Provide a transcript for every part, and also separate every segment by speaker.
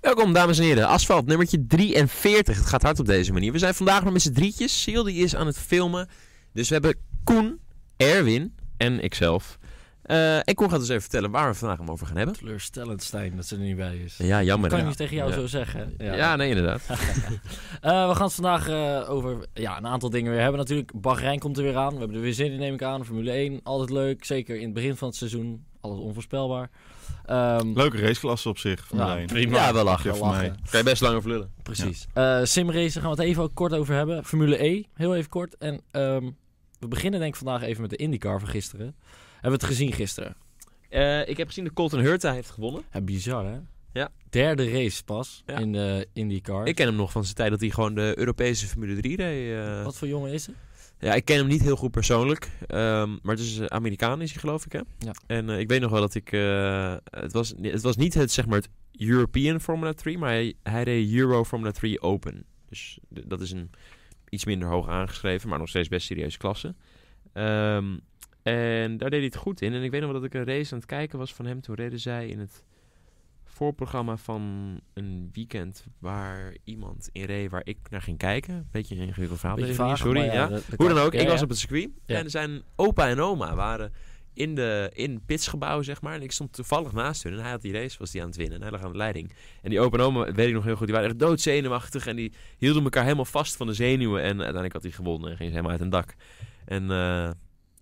Speaker 1: Welkom, dames en heren. Asfalt, nummertje 43. Het gaat hard op deze manier. We zijn vandaag nog met z'n drietjes. Siel die is aan het filmen. Dus we hebben Koen, Erwin en ikzelf. Eh, en Koen gaat ons even vertellen waar we vandaag hem over gaan hebben.
Speaker 2: Teleurstellend, Stijn, dat ze er niet bij is.
Speaker 1: Ja, jammer.
Speaker 2: kan
Speaker 1: hè?
Speaker 2: ik niet tegen jou
Speaker 1: Ja.
Speaker 2: zo zeggen.
Speaker 1: Ja.
Speaker 2: Ja.
Speaker 1: nee, inderdaad.
Speaker 2: Eh, we gaan het vandaag eh, over ja, een aantal dingen weer hebben. Natuurlijk, Bahrein komt er weer aan. We hebben er weer zin in, neem ik aan. Formule 1, altijd leuk. Zeker in het begin van het seizoen. Alles onvoorspelbaar. Ehm,
Speaker 3: Leuke raceklasse op zich. Van
Speaker 2: Ja,
Speaker 3: Rijn.
Speaker 1: prima. Ja, wel lachen.
Speaker 3: Ja, voor
Speaker 2: Lachen.
Speaker 3: mij.
Speaker 1: Kan je best lang over lullen.
Speaker 2: precies. Eh Simrace, daar gaan we het even ook kort over hebben. Formule E, heel even kort. En ehm, we beginnen denk ik vandaag even met de IndyCar van gisteren. Hebben we het gezien gisteren?
Speaker 1: Eh, ik heb gezien dat Colton Hurta heeft gewonnen.
Speaker 2: Ja, bizar, hè?
Speaker 1: Ja.
Speaker 2: Derde race pas
Speaker 1: Ja.
Speaker 2: in de IndyCar.
Speaker 1: Ik ken hem nog van zijn tijd dat hij gewoon de Europese Formule 3 deed. eh.
Speaker 2: Wat voor jongen is het?
Speaker 1: Ja, ik ken hem niet heel goed persoonlijk. ehm, maar het is eh, Amerikaan is hij geloof ik hè?
Speaker 2: Ja.
Speaker 1: En eh, ik weet nog wel dat ik... eh, het, was, het was niet het, zeg maar het European Formula 3, maar hij, hij deed Euro Formula 3 Open. Dus d- dat is een iets minder hoog aangeschreven, maar nog steeds best serieuze klasse. Ehm, en daar deed hij het goed in. En ik weet nog wel dat ik een race aan het kijken was van hem. Toen reden zij in het voorprogramma van een weekend waar iemand in reed waar ik naar ging kijken. Beetje een ingewikkeld verhaal.
Speaker 2: Beetje
Speaker 1: deze manier,
Speaker 2: vaag,
Speaker 1: sorry.
Speaker 2: maar
Speaker 1: ja.
Speaker 2: dat- dat
Speaker 1: Hoe
Speaker 2: kan.
Speaker 1: dan ook,
Speaker 2: Ja,
Speaker 1: ik was
Speaker 2: ja.
Speaker 1: op het circuit.
Speaker 2: Ja.
Speaker 1: En zijn opa en oma waren in, de, in het pitsgebouw, zeg maar. En ik stond toevallig naast hun. En hij had die race, was die aan het winnen. En hij lag aan de leiding. En die opa en oma, weet ik nog heel goed, die waren echt doodzenuwachtig. En die hielden elkaar helemaal vast van de zenuwen. En uiteindelijk had hij gewonnen en ging ze helemaal uit een dak. En, eh,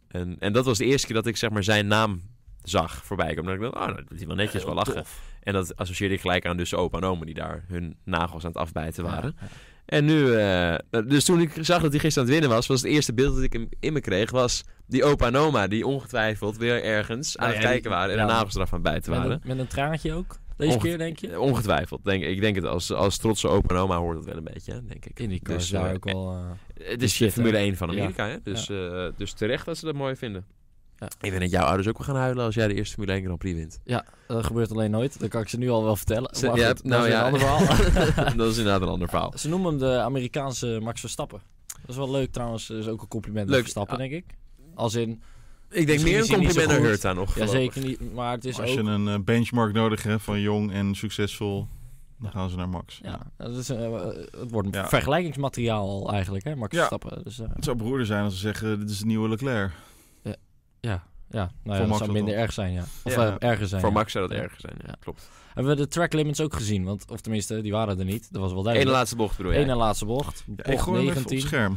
Speaker 1: en, en dat was de eerste keer dat ik, zeg maar, zijn naam zag voorbij komen. Dat ik dacht, oh, nou, dat doet hij wel netjes, wel lachen. En dat associeerde ik gelijk aan dus de opa en oma die daar hun nagels aan het afbijten waren.
Speaker 2: Ja.
Speaker 1: En nu, eh, dus toen ik zag dat hij gisteren aan het winnen was, was het eerste beeld dat ik hem in me kreeg, was die opa en oma die ongetwijfeld weer ergens aan
Speaker 2: Nou
Speaker 1: het
Speaker 2: ja, die-
Speaker 1: kijken waren en
Speaker 2: ja.
Speaker 1: de nagels eraf aan het bijten
Speaker 2: Met
Speaker 1: waren.
Speaker 2: een, met een traantje ook? Deze
Speaker 1: Onge-
Speaker 2: keer, denk je?
Speaker 1: Eh, Ongetwijfeld, denk ik. Ik denk het als, als trotse opa en oma hoort het wel een beetje, hè, denk ik.
Speaker 2: In die car
Speaker 1: Dus,
Speaker 2: is daar
Speaker 1: eh,
Speaker 2: ook wel... eh,
Speaker 1: eh, Het is
Speaker 2: shit, hè?
Speaker 1: Formule 1 van
Speaker 2: Ja.
Speaker 1: Amerika, hè? Dus, eh, dus terecht dat ze dat mooi vinden.
Speaker 2: Ja.
Speaker 1: Ik weet dat jouw ouders ook wel gaan huilen als jij de eerste Formule 1 Grand Prix wint.
Speaker 2: ja, dat gebeurt alleen nooit. Dat kan ik ze nu al wel vertellen.
Speaker 1: Ze-
Speaker 2: Maar
Speaker 1: ja,
Speaker 2: goed,
Speaker 1: nou
Speaker 2: dat is
Speaker 1: ja.
Speaker 2: een ander verhaal.
Speaker 1: dat is inderdaad een ander verhaal.
Speaker 2: ze noemen hem de Amerikaanse Max Verstappen. Dat is wel leuk trouwens. Dat is ook een compliment
Speaker 1: Leuk.
Speaker 2: aan Verstappen, denk ik. Als in,
Speaker 1: Ik denk
Speaker 2: Misschien
Speaker 1: meer
Speaker 2: is
Speaker 1: een
Speaker 2: hij niet
Speaker 1: compliment naar
Speaker 2: zo goed.
Speaker 1: Hurta nog.
Speaker 2: ja
Speaker 1: voorlopig.
Speaker 2: zeker niet, maar het is
Speaker 3: Als je
Speaker 2: ook...
Speaker 3: een eh, benchmark nodig hebt van jong en succesvol, dan gaan ze naar Max. Ja.
Speaker 2: Ja, dat is, eh, eh, het wordt een
Speaker 3: Ja.
Speaker 2: vergelijkingsmateriaal al eigenlijk, hè, Max
Speaker 3: Ja.
Speaker 2: Verstappen. Dus, eh,
Speaker 3: Het zou broeder zijn als ze zeggen, dit is het nieuwe Leclerc.
Speaker 2: ja, ja, nou ja,
Speaker 3: Max
Speaker 2: dat
Speaker 3: was
Speaker 2: zou
Speaker 3: dat
Speaker 2: minder
Speaker 3: wel.
Speaker 2: erg zijn, ja. Of
Speaker 1: Ja.
Speaker 2: eh, erger zijn,
Speaker 1: Voor
Speaker 2: ja.
Speaker 1: Max zou dat erger zijn, ja,
Speaker 2: Ja.
Speaker 1: klopt.
Speaker 2: Hebben we de track limits ook gezien? Want, of tenminste, die waren er niet. Dat was wel
Speaker 1: Eén
Speaker 2: duidelijk.
Speaker 1: laatste oh bocht bedoel
Speaker 2: Eén
Speaker 1: je?
Speaker 2: en laatste bocht.
Speaker 3: Ja, ik
Speaker 2: bocht
Speaker 3: gooi hem even op het
Speaker 2: 19.
Speaker 3: scherm.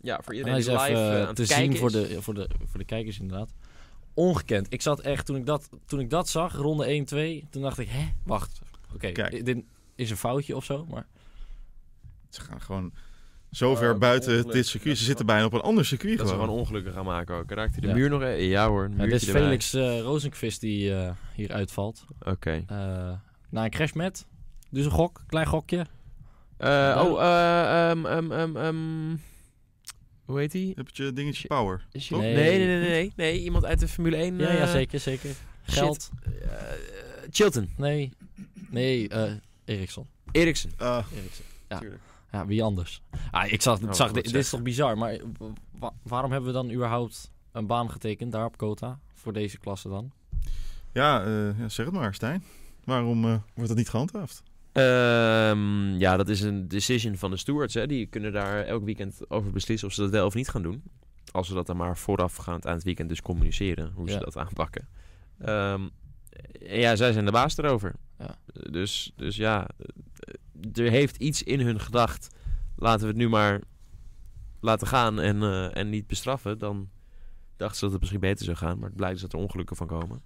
Speaker 1: Ja, voor
Speaker 2: En hij
Speaker 1: iedereen
Speaker 2: is
Speaker 1: die
Speaker 2: even
Speaker 1: live eh, aan
Speaker 2: eh,
Speaker 1: het
Speaker 2: te
Speaker 1: kijken
Speaker 2: zien
Speaker 1: is.
Speaker 2: voor de, voor, de, voor de kijkers inderdaad. Ongekend. Ik zat echt, toen ik dat, toen ik dat zag, ronde 1, 2, toen dacht ik, hè, wacht. Oké,
Speaker 3: Kijk.
Speaker 2: dit is een foutje of zo, maar...
Speaker 3: Ze gaan gewoon zo
Speaker 1: Oh,
Speaker 3: ver
Speaker 1: wat
Speaker 3: buiten
Speaker 1: ongeluk.
Speaker 3: dit circuit.
Speaker 1: Dat
Speaker 3: Ze
Speaker 1: is
Speaker 3: zitten bijna op een ander circuit
Speaker 1: Dat ze
Speaker 3: gewoon.
Speaker 1: gewoon ongelukken gaan maken ook. Raakt hij de
Speaker 2: Ja.
Speaker 1: muur nog e- Ja hoor, een
Speaker 2: Ja, dit is
Speaker 1: muurtje erbij.
Speaker 2: Felix eh Rozenkvist die eh, hier uitvalt.
Speaker 1: Oké.
Speaker 2: Eh, na een crash met. Dus een gok, klein gokje.
Speaker 1: Eh, oh, eh, ehm, ehm, ehm, ehm, hoe heet hij?
Speaker 3: Heb je dingetje power?
Speaker 1: Is
Speaker 2: Nee.
Speaker 1: nee. Nee, nee, nee, nee, nee. Iemand uit de Formule 1.
Speaker 2: Ja,
Speaker 1: eh,
Speaker 2: ja, zeker, zeker.
Speaker 1: shit.
Speaker 2: Geld.
Speaker 1: eh, eh, Chilton.
Speaker 2: Nee. Nee, eh Eriksson.
Speaker 1: Eriksen.
Speaker 3: Ah,
Speaker 2: Eriksson. Ja.
Speaker 3: tuurlijk.
Speaker 2: Ja, wie anders? Ah, ik zag,
Speaker 1: Nou,
Speaker 2: zag
Speaker 1: wat
Speaker 2: dit,
Speaker 1: moet
Speaker 2: dit is
Speaker 1: zeggen.
Speaker 2: toch bizar, maar wa- wa- waarom hebben we dan überhaupt een baan getekend daar op Kota? Voor deze klasse dan?
Speaker 3: Ja, eh, ja, zeg het maar, Stijn. Waarom eh, wordt dat niet gehandhaafd?
Speaker 1: Ehm, ja, dat is een decision van de stewards. Hè. Die kunnen daar elk weekend over beslissen of ze dat wel of niet gaan doen. Als ze dat dan maar voorafgaand aan het weekend dus communiceren, hoe ze
Speaker 2: Ja.
Speaker 1: dat aanpakken. Ehm, en ja, zij zijn de baas erover.
Speaker 2: Ja.
Speaker 1: Dus, dus ja, eh, er heeft iets in hun gedacht. Laten we het nu maar laten gaan en, eh, en niet bestraffen. Dan dachten ze dat het misschien beter zou gaan. Maar het blijkt dus dat er ongelukken van komen.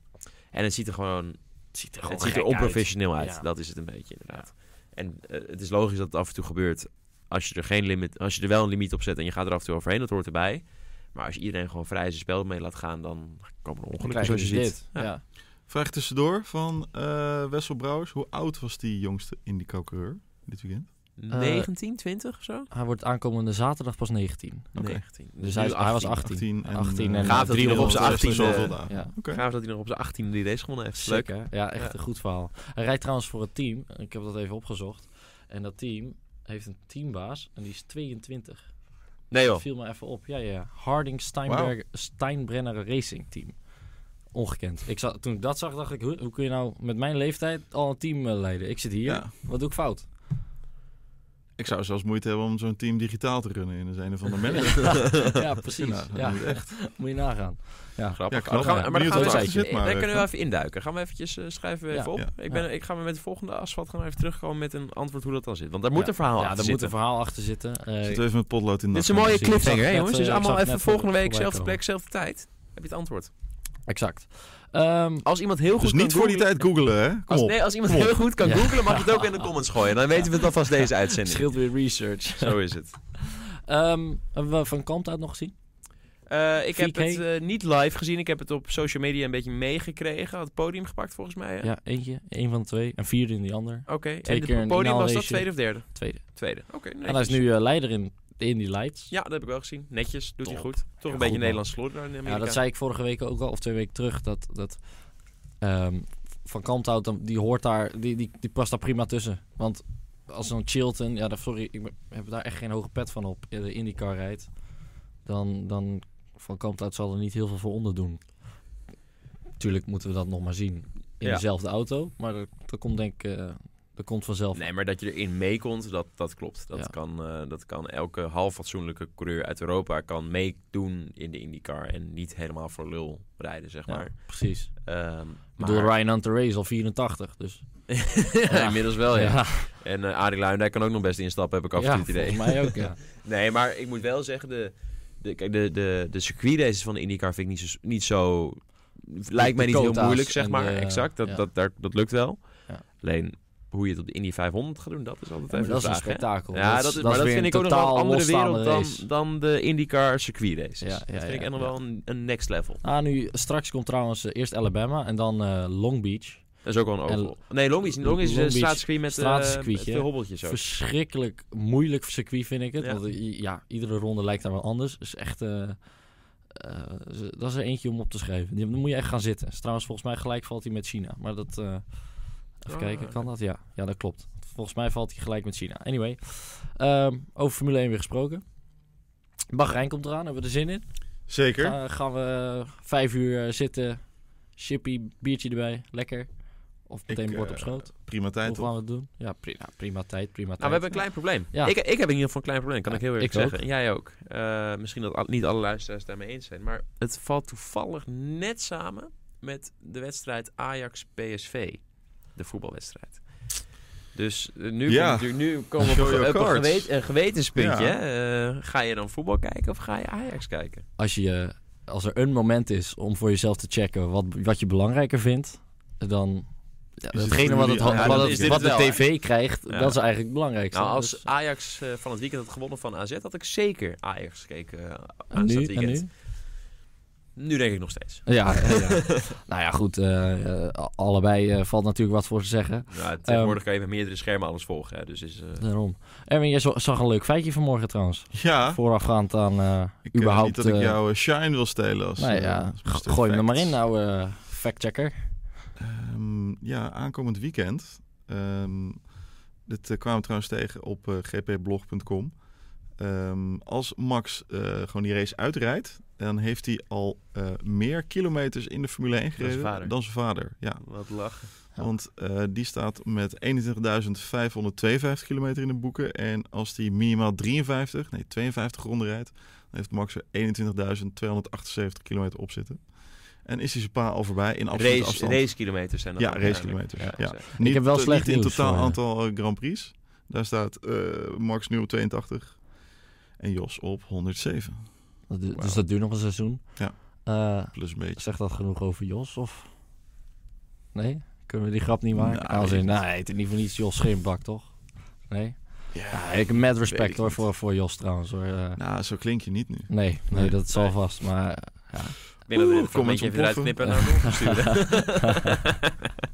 Speaker 1: En het ziet er gewoon
Speaker 2: Het ziet
Speaker 1: het ziet er onprofessioneel uit.
Speaker 2: Ja.
Speaker 1: Dat is het een beetje, inderdaad. En eh, het is logisch dat het af en toe gebeurt. Als je er geen limit, als je er wel een limiet op zet en je gaat er af en toe overheen, dat hoort erbij. Maar als je iedereen gewoon vrij zijn spel mee laat gaan, dan komen er ongelukken zoals je ziet.
Speaker 2: dus dit. Ja.
Speaker 1: Ja.
Speaker 3: Vraag tussendoor van eh, Wessel Brouwers. Hoe oud was die jongste Indy-coureur dit weekend?
Speaker 2: Eh,
Speaker 1: 19, 20 of zo?
Speaker 2: Hij wordt aankomende zaterdag pas 19.
Speaker 3: Oké.
Speaker 1: 19.
Speaker 2: Dus hij, is- hij was 18.
Speaker 3: 18 en,
Speaker 2: 18
Speaker 3: eh,
Speaker 2: en
Speaker 1: Gaaf dat hij nog op zijn
Speaker 3: 300
Speaker 1: 18e
Speaker 3: zoveel dagen.
Speaker 2: Ja.
Speaker 3: Oké.
Speaker 1: Gaaf dat hij nog op zijn 18 die race gewonnen heeft.
Speaker 2: Leuk
Speaker 1: Ah, Leuk.
Speaker 2: hè? Ja, echt
Speaker 1: Ja.
Speaker 2: een goed verhaal. Hij rijdt trouwens voor het team. Ik heb dat even opgezocht. En dat team heeft een teambaas en die is 22.
Speaker 1: Nee joh.
Speaker 2: Dat viel me even op. Ja, ja. ja. Harding Steinberg, Steinbrenner Racing Team. Ongekend. Ik zag, toen ik dat zag, dacht ik, hoe, hoe kun je nou met mijn leeftijd al een team eh, leiden? Ik zit hier,
Speaker 3: Ja.
Speaker 2: wat doe ik fout?
Speaker 3: Ik zou zelfs moeite hebben om zo'n team digitaal te runnen in de zin van de manager.
Speaker 2: ja, ja, precies.
Speaker 3: Nou, dat
Speaker 2: ja,
Speaker 3: moet echt.
Speaker 2: moet je nagaan. Ja.
Speaker 1: Grappig.
Speaker 3: Ja,
Speaker 1: maar dan gaan we, maar dan
Speaker 2: benieuwd
Speaker 1: gaan
Speaker 2: wat
Speaker 1: we,
Speaker 2: erachter
Speaker 3: zit, maar
Speaker 1: daar kunnen we
Speaker 3: echt.
Speaker 1: even induiken. Gaan we eventjes, eh, schrijven we
Speaker 2: Ja.
Speaker 1: even op.
Speaker 3: Ja.
Speaker 1: Ik, ben,
Speaker 2: Ja.
Speaker 1: ik ga weer met de volgende asfalt gaan we even terugkomen met een antwoord hoe dat dan zit. Want daar moet
Speaker 2: Ja.
Speaker 1: een verhaal
Speaker 2: ja,
Speaker 1: achter
Speaker 2: daar moet
Speaker 1: zitten.
Speaker 2: een verhaal achter zitten. Eh,
Speaker 3: Zitten we even met potlood in de
Speaker 1: Dit is een
Speaker 3: nacht.
Speaker 1: mooie
Speaker 2: Precies.
Speaker 1: cliffhanger,
Speaker 2: Ik
Speaker 1: hè
Speaker 2: zag
Speaker 1: jongens?
Speaker 2: net,
Speaker 1: Dus
Speaker 2: eh,
Speaker 1: allemaal
Speaker 2: ik zag
Speaker 1: even
Speaker 2: net
Speaker 1: volgende week,
Speaker 2: voorbij
Speaker 1: zelfde
Speaker 2: komen.
Speaker 1: plek, zelfde tijd. Heb je het antwoord?
Speaker 2: exact. Ehm,
Speaker 1: Als iemand heel goed
Speaker 3: Dus
Speaker 1: kan
Speaker 3: niet voor die
Speaker 1: googlen-
Speaker 3: tijd googelen, hè? Kom
Speaker 1: Als,
Speaker 3: op.
Speaker 1: nee, als iemand
Speaker 3: Kom op.
Speaker 1: heel goed kan
Speaker 2: Ja.
Speaker 1: googlen, mag je het ook in de comments gooien. Dan weten we het alvast deze uitzending.
Speaker 2: scheelt weer research.
Speaker 1: Zo is het.
Speaker 2: Ehm, hebben we van kant uit nog gezien?
Speaker 1: Eh, ik heb
Speaker 2: 4K.
Speaker 1: het eh, niet live gezien. Ik heb het op social media een beetje meegekregen. Had het podium gepakt volgens mij. hè?
Speaker 2: Ja, eentje. Een van de twee. En vierde in die ander.
Speaker 1: Oké.
Speaker 2: Twee
Speaker 1: En
Speaker 2: keer
Speaker 1: het
Speaker 2: een
Speaker 1: podium was dat
Speaker 2: inhaalraceje.
Speaker 1: tweede of derde?
Speaker 2: Tweede.
Speaker 1: Tweede. Oké.
Speaker 2: En hij is
Speaker 1: netjes.
Speaker 2: nu eh, leider in, in die lights.
Speaker 1: Ja, dat heb ik wel gezien. Netjes, doet hij
Speaker 2: Top.
Speaker 1: goed. Toch een beetje
Speaker 2: man.
Speaker 1: Nederlands slor daar in Amerika.
Speaker 2: Ja, dat zei ik vorige week ook al, of twee weken terug, dat, dat ehm, Van Kanthout, dan- die hoort daar, die, die, die past daar prima tussen. Want als zo'n Chilton, ja, daar- sorry, ik ben- heb daar echt geen hoge pet van op, eh, de IndyCar rijdt, dan, dan Van Kanthout zal er niet heel veel voor onder doen. Tuurlijk moeten we dat nog maar zien in
Speaker 1: Ja.
Speaker 2: dezelfde auto, maar dat, dat komt denk ik, eh, dat komt vanzelf.
Speaker 1: Nee, maar dat je erin mee komt, dat, dat klopt. Dat,
Speaker 2: Ja.
Speaker 1: kan, eh, dat kan elke half fatsoenlijke coureur uit Europa kan meedoen in de IndyCar. En niet helemaal voor lul rijden, zeg
Speaker 2: Ja,
Speaker 1: maar.
Speaker 2: Precies.
Speaker 1: Ehm, maar...
Speaker 2: Door Ryan Hunter Race al 84, dus.
Speaker 1: ja,
Speaker 2: Ja.
Speaker 1: inmiddels wel, ja. En eh Arie Luijendijk kan ook nog best instappen, heb ik af en toe
Speaker 2: ja,
Speaker 1: het idee.
Speaker 2: volgens mij ook, ja.
Speaker 1: Nee, maar ik moet wel zeggen, de, de, kijk, de, de, de circuitraces van de IndyCar vind ik niet zo... Niet zo lijkt mij niet heel
Speaker 2: quota's
Speaker 1: moeilijk, zeg
Speaker 2: en
Speaker 1: maar.
Speaker 2: de-
Speaker 1: exact, dat,
Speaker 2: ja.
Speaker 1: dat, daar- dat lukt wel.
Speaker 2: Ja.
Speaker 1: Alleen, hoe je het op de Indy 500 gaat doen, dat is altijd
Speaker 2: Ja, maar
Speaker 1: even
Speaker 2: dat is
Speaker 1: de
Speaker 2: een
Speaker 1: vraag, hè?
Speaker 2: spektakel.
Speaker 1: Ja, dat, is, maar dat
Speaker 2: weer
Speaker 1: vind ik
Speaker 2: een
Speaker 1: ook nog wel een
Speaker 2: totaal
Speaker 1: andere
Speaker 2: losstaande
Speaker 1: wereld dan,
Speaker 2: race.
Speaker 1: dan de IndyCar circuitraces.
Speaker 2: Ja, ja,
Speaker 1: dat vind
Speaker 2: ja,
Speaker 1: ik echt nog
Speaker 2: ja.
Speaker 1: wel een, een next level.
Speaker 2: Ah, nu, straks komt trouwens eh, eerst Alabama en dan eh, Long Beach.
Speaker 1: Dat is ook wel een
Speaker 2: En-
Speaker 1: oval. Nee, Long Beach. niet. Long Beach is
Speaker 2: Long
Speaker 1: een
Speaker 2: Beach,
Speaker 1: straatcircuit met, eh,
Speaker 2: straatcircuitje,
Speaker 1: met veel hobbeltjes ook.
Speaker 2: Verschrikkelijk moeilijk circuit vind ik het.
Speaker 1: Ja.
Speaker 2: Want eh, i- ja, iedere ronde lijkt daar wel anders. Dus echt, eh, eh, z- dat is er eentje om op te schrijven. Die- Dan moet je echt gaan zitten. Is Trouwens, volgens mij gelijk valt hij met China. Maar dat, eh, even
Speaker 1: Ah,
Speaker 2: kijken,
Speaker 1: oké.
Speaker 2: kan dat? Ja. ja, dat klopt. Volgens mij valt hij gelijk met China. Anyway, ehm, over Formule 1 weer gesproken. Bahrein komt eraan, hebben we er zin in?
Speaker 3: Zeker.
Speaker 2: Ga- gaan we vijf uur eh, zitten, chippy, biertje erbij, lekker. Of
Speaker 3: Ik,
Speaker 2: meteen bord
Speaker 3: eh,
Speaker 2: op schoot.
Speaker 3: Prima
Speaker 2: Hoe
Speaker 3: tijd,
Speaker 2: gaan
Speaker 3: toch?
Speaker 2: we het doen? Ja, prima, prima tijd, prima
Speaker 1: Nou,
Speaker 2: tijd.
Speaker 1: we hebben een klein probleem.
Speaker 2: Ja.
Speaker 1: Ik, ik heb in ieder geval een klein probleem, kan
Speaker 2: Ja,
Speaker 1: ik heel eerlijk
Speaker 2: ik ook.
Speaker 1: zeggen. En jij ook. Eh, misschien dat al- niet alle luisteraars daarmee eens zijn. Maar het valt toevallig net samen met de wedstrijd Ajax-PSV. De voetbalwedstrijd. Dus eh, nu,
Speaker 3: Ja.
Speaker 1: komt natuurlijk- nu komen we op,
Speaker 3: Show
Speaker 1: een ge-
Speaker 3: your
Speaker 1: op een
Speaker 3: cards.
Speaker 1: gewet- een gewetenspuntje.
Speaker 3: Ja.
Speaker 1: hè. Eh, ga je dan voetbal kijken of ga je Ajax kijken?
Speaker 2: Als, je, eh, als er een moment is om voor jezelf te checken wat, wat je belangrijker vindt, dan... Ja,
Speaker 3: het
Speaker 2: datgene
Speaker 3: voor
Speaker 2: wat, het,
Speaker 3: jullie-
Speaker 1: Ja,
Speaker 2: wat,
Speaker 1: dan
Speaker 2: het-
Speaker 1: is dit
Speaker 2: wat
Speaker 1: het
Speaker 2: de
Speaker 1: wel,
Speaker 2: tv krijgt,
Speaker 1: Ja.
Speaker 2: dat is eigenlijk het belangrijkste.
Speaker 1: Nou, als
Speaker 2: Dus-
Speaker 1: Ajax eh, van het weekend had gewonnen van AZ, had ik zeker Ajax gekeken eh,
Speaker 2: en
Speaker 1: aanstaand
Speaker 2: nu, en
Speaker 1: weekend.
Speaker 2: nu?
Speaker 1: nu denk ik nog steeds.
Speaker 2: Ja, ja, ja. nou ja, goed. eh, eh, allebei eh, valt natuurlijk wat voor te zeggen.
Speaker 1: Ja, Nou, tegenwoordig kan je met meerdere schermen alles volgen. Hè, dus is, eh,
Speaker 2: Daarom. Erwin, jij zo- zag een leuk feitje vanmorgen trouwens.
Speaker 3: Ja.
Speaker 2: Voorafgaand aan eh,
Speaker 3: Ik eh,
Speaker 2: überhaupt...
Speaker 3: niet dat ik
Speaker 2: eh,
Speaker 3: jouw eh, shine wil stelen. Als,
Speaker 2: nou
Speaker 3: eh,
Speaker 2: ja,
Speaker 3: als
Speaker 2: g-
Speaker 3: beste
Speaker 2: gooi hem er maar
Speaker 3: fact.
Speaker 2: in nou, eh factchecker.
Speaker 3: Ehm, ja, aankomend weekend. Ehm, dit eh, kwamen we trouwens tegen op eh, gpblog.com. Ehm, als Max eh, gewoon die race uitrijdt, dan heeft hij al eh, meer kilometers in de Formule 1
Speaker 1: zijn
Speaker 3: gereden
Speaker 1: vader.
Speaker 3: dan zijn vader. Ja,
Speaker 1: Wat lachen.
Speaker 2: Ja.
Speaker 3: want eh, die staat met 21.552 kilometer in de boeken. En als die minimaal 53, nee 52 ronden rijdt, dan heeft Max er 21.278 kilometer op zitten. En is hij zijn pa al voorbij in absolute
Speaker 1: Race,
Speaker 3: Nou, afstand.
Speaker 1: racekilometers zijn dat.
Speaker 3: Ja,
Speaker 1: dan
Speaker 3: racekilometers,
Speaker 1: eigenlijk. Ja,
Speaker 3: Niet,
Speaker 2: heb wel
Speaker 3: eh,
Speaker 2: slecht
Speaker 3: niet in
Speaker 2: nieuws
Speaker 3: totaal
Speaker 2: voor je.
Speaker 3: aantal eh, Grand Prix. Daar staat eh, Max nu op 82 en Jos op 107.
Speaker 2: Dat du-
Speaker 1: Wauw.
Speaker 2: Dus dat duurt nog een seizoen.
Speaker 3: Ja.
Speaker 2: Eh,
Speaker 3: Plus een beetje.
Speaker 2: zegt dat genoeg over Jos? Of... Nee? Kunnen we die grap niet maken?
Speaker 3: Nou,
Speaker 2: Als in,
Speaker 3: ik-
Speaker 2: nou, hij heet in ieder geval niet Jos Schimblak, toch? Nee?
Speaker 3: Ja.
Speaker 2: Ja, ik heb mad
Speaker 3: weet
Speaker 2: respect
Speaker 3: ik
Speaker 2: hoor
Speaker 3: niet.
Speaker 2: voor, voor Jos trouwens. Hoor. Eh,
Speaker 3: Nou, zo klink je niet nu.
Speaker 2: nee, nee,
Speaker 3: Nee,
Speaker 2: dat zal
Speaker 1: nee.
Speaker 2: vast. Maar eh, ja,
Speaker 1: Ik denk dat we
Speaker 3: Oeh,
Speaker 1: dit gewoon een beetje even eruit
Speaker 3: comments
Speaker 1: knippen en naar de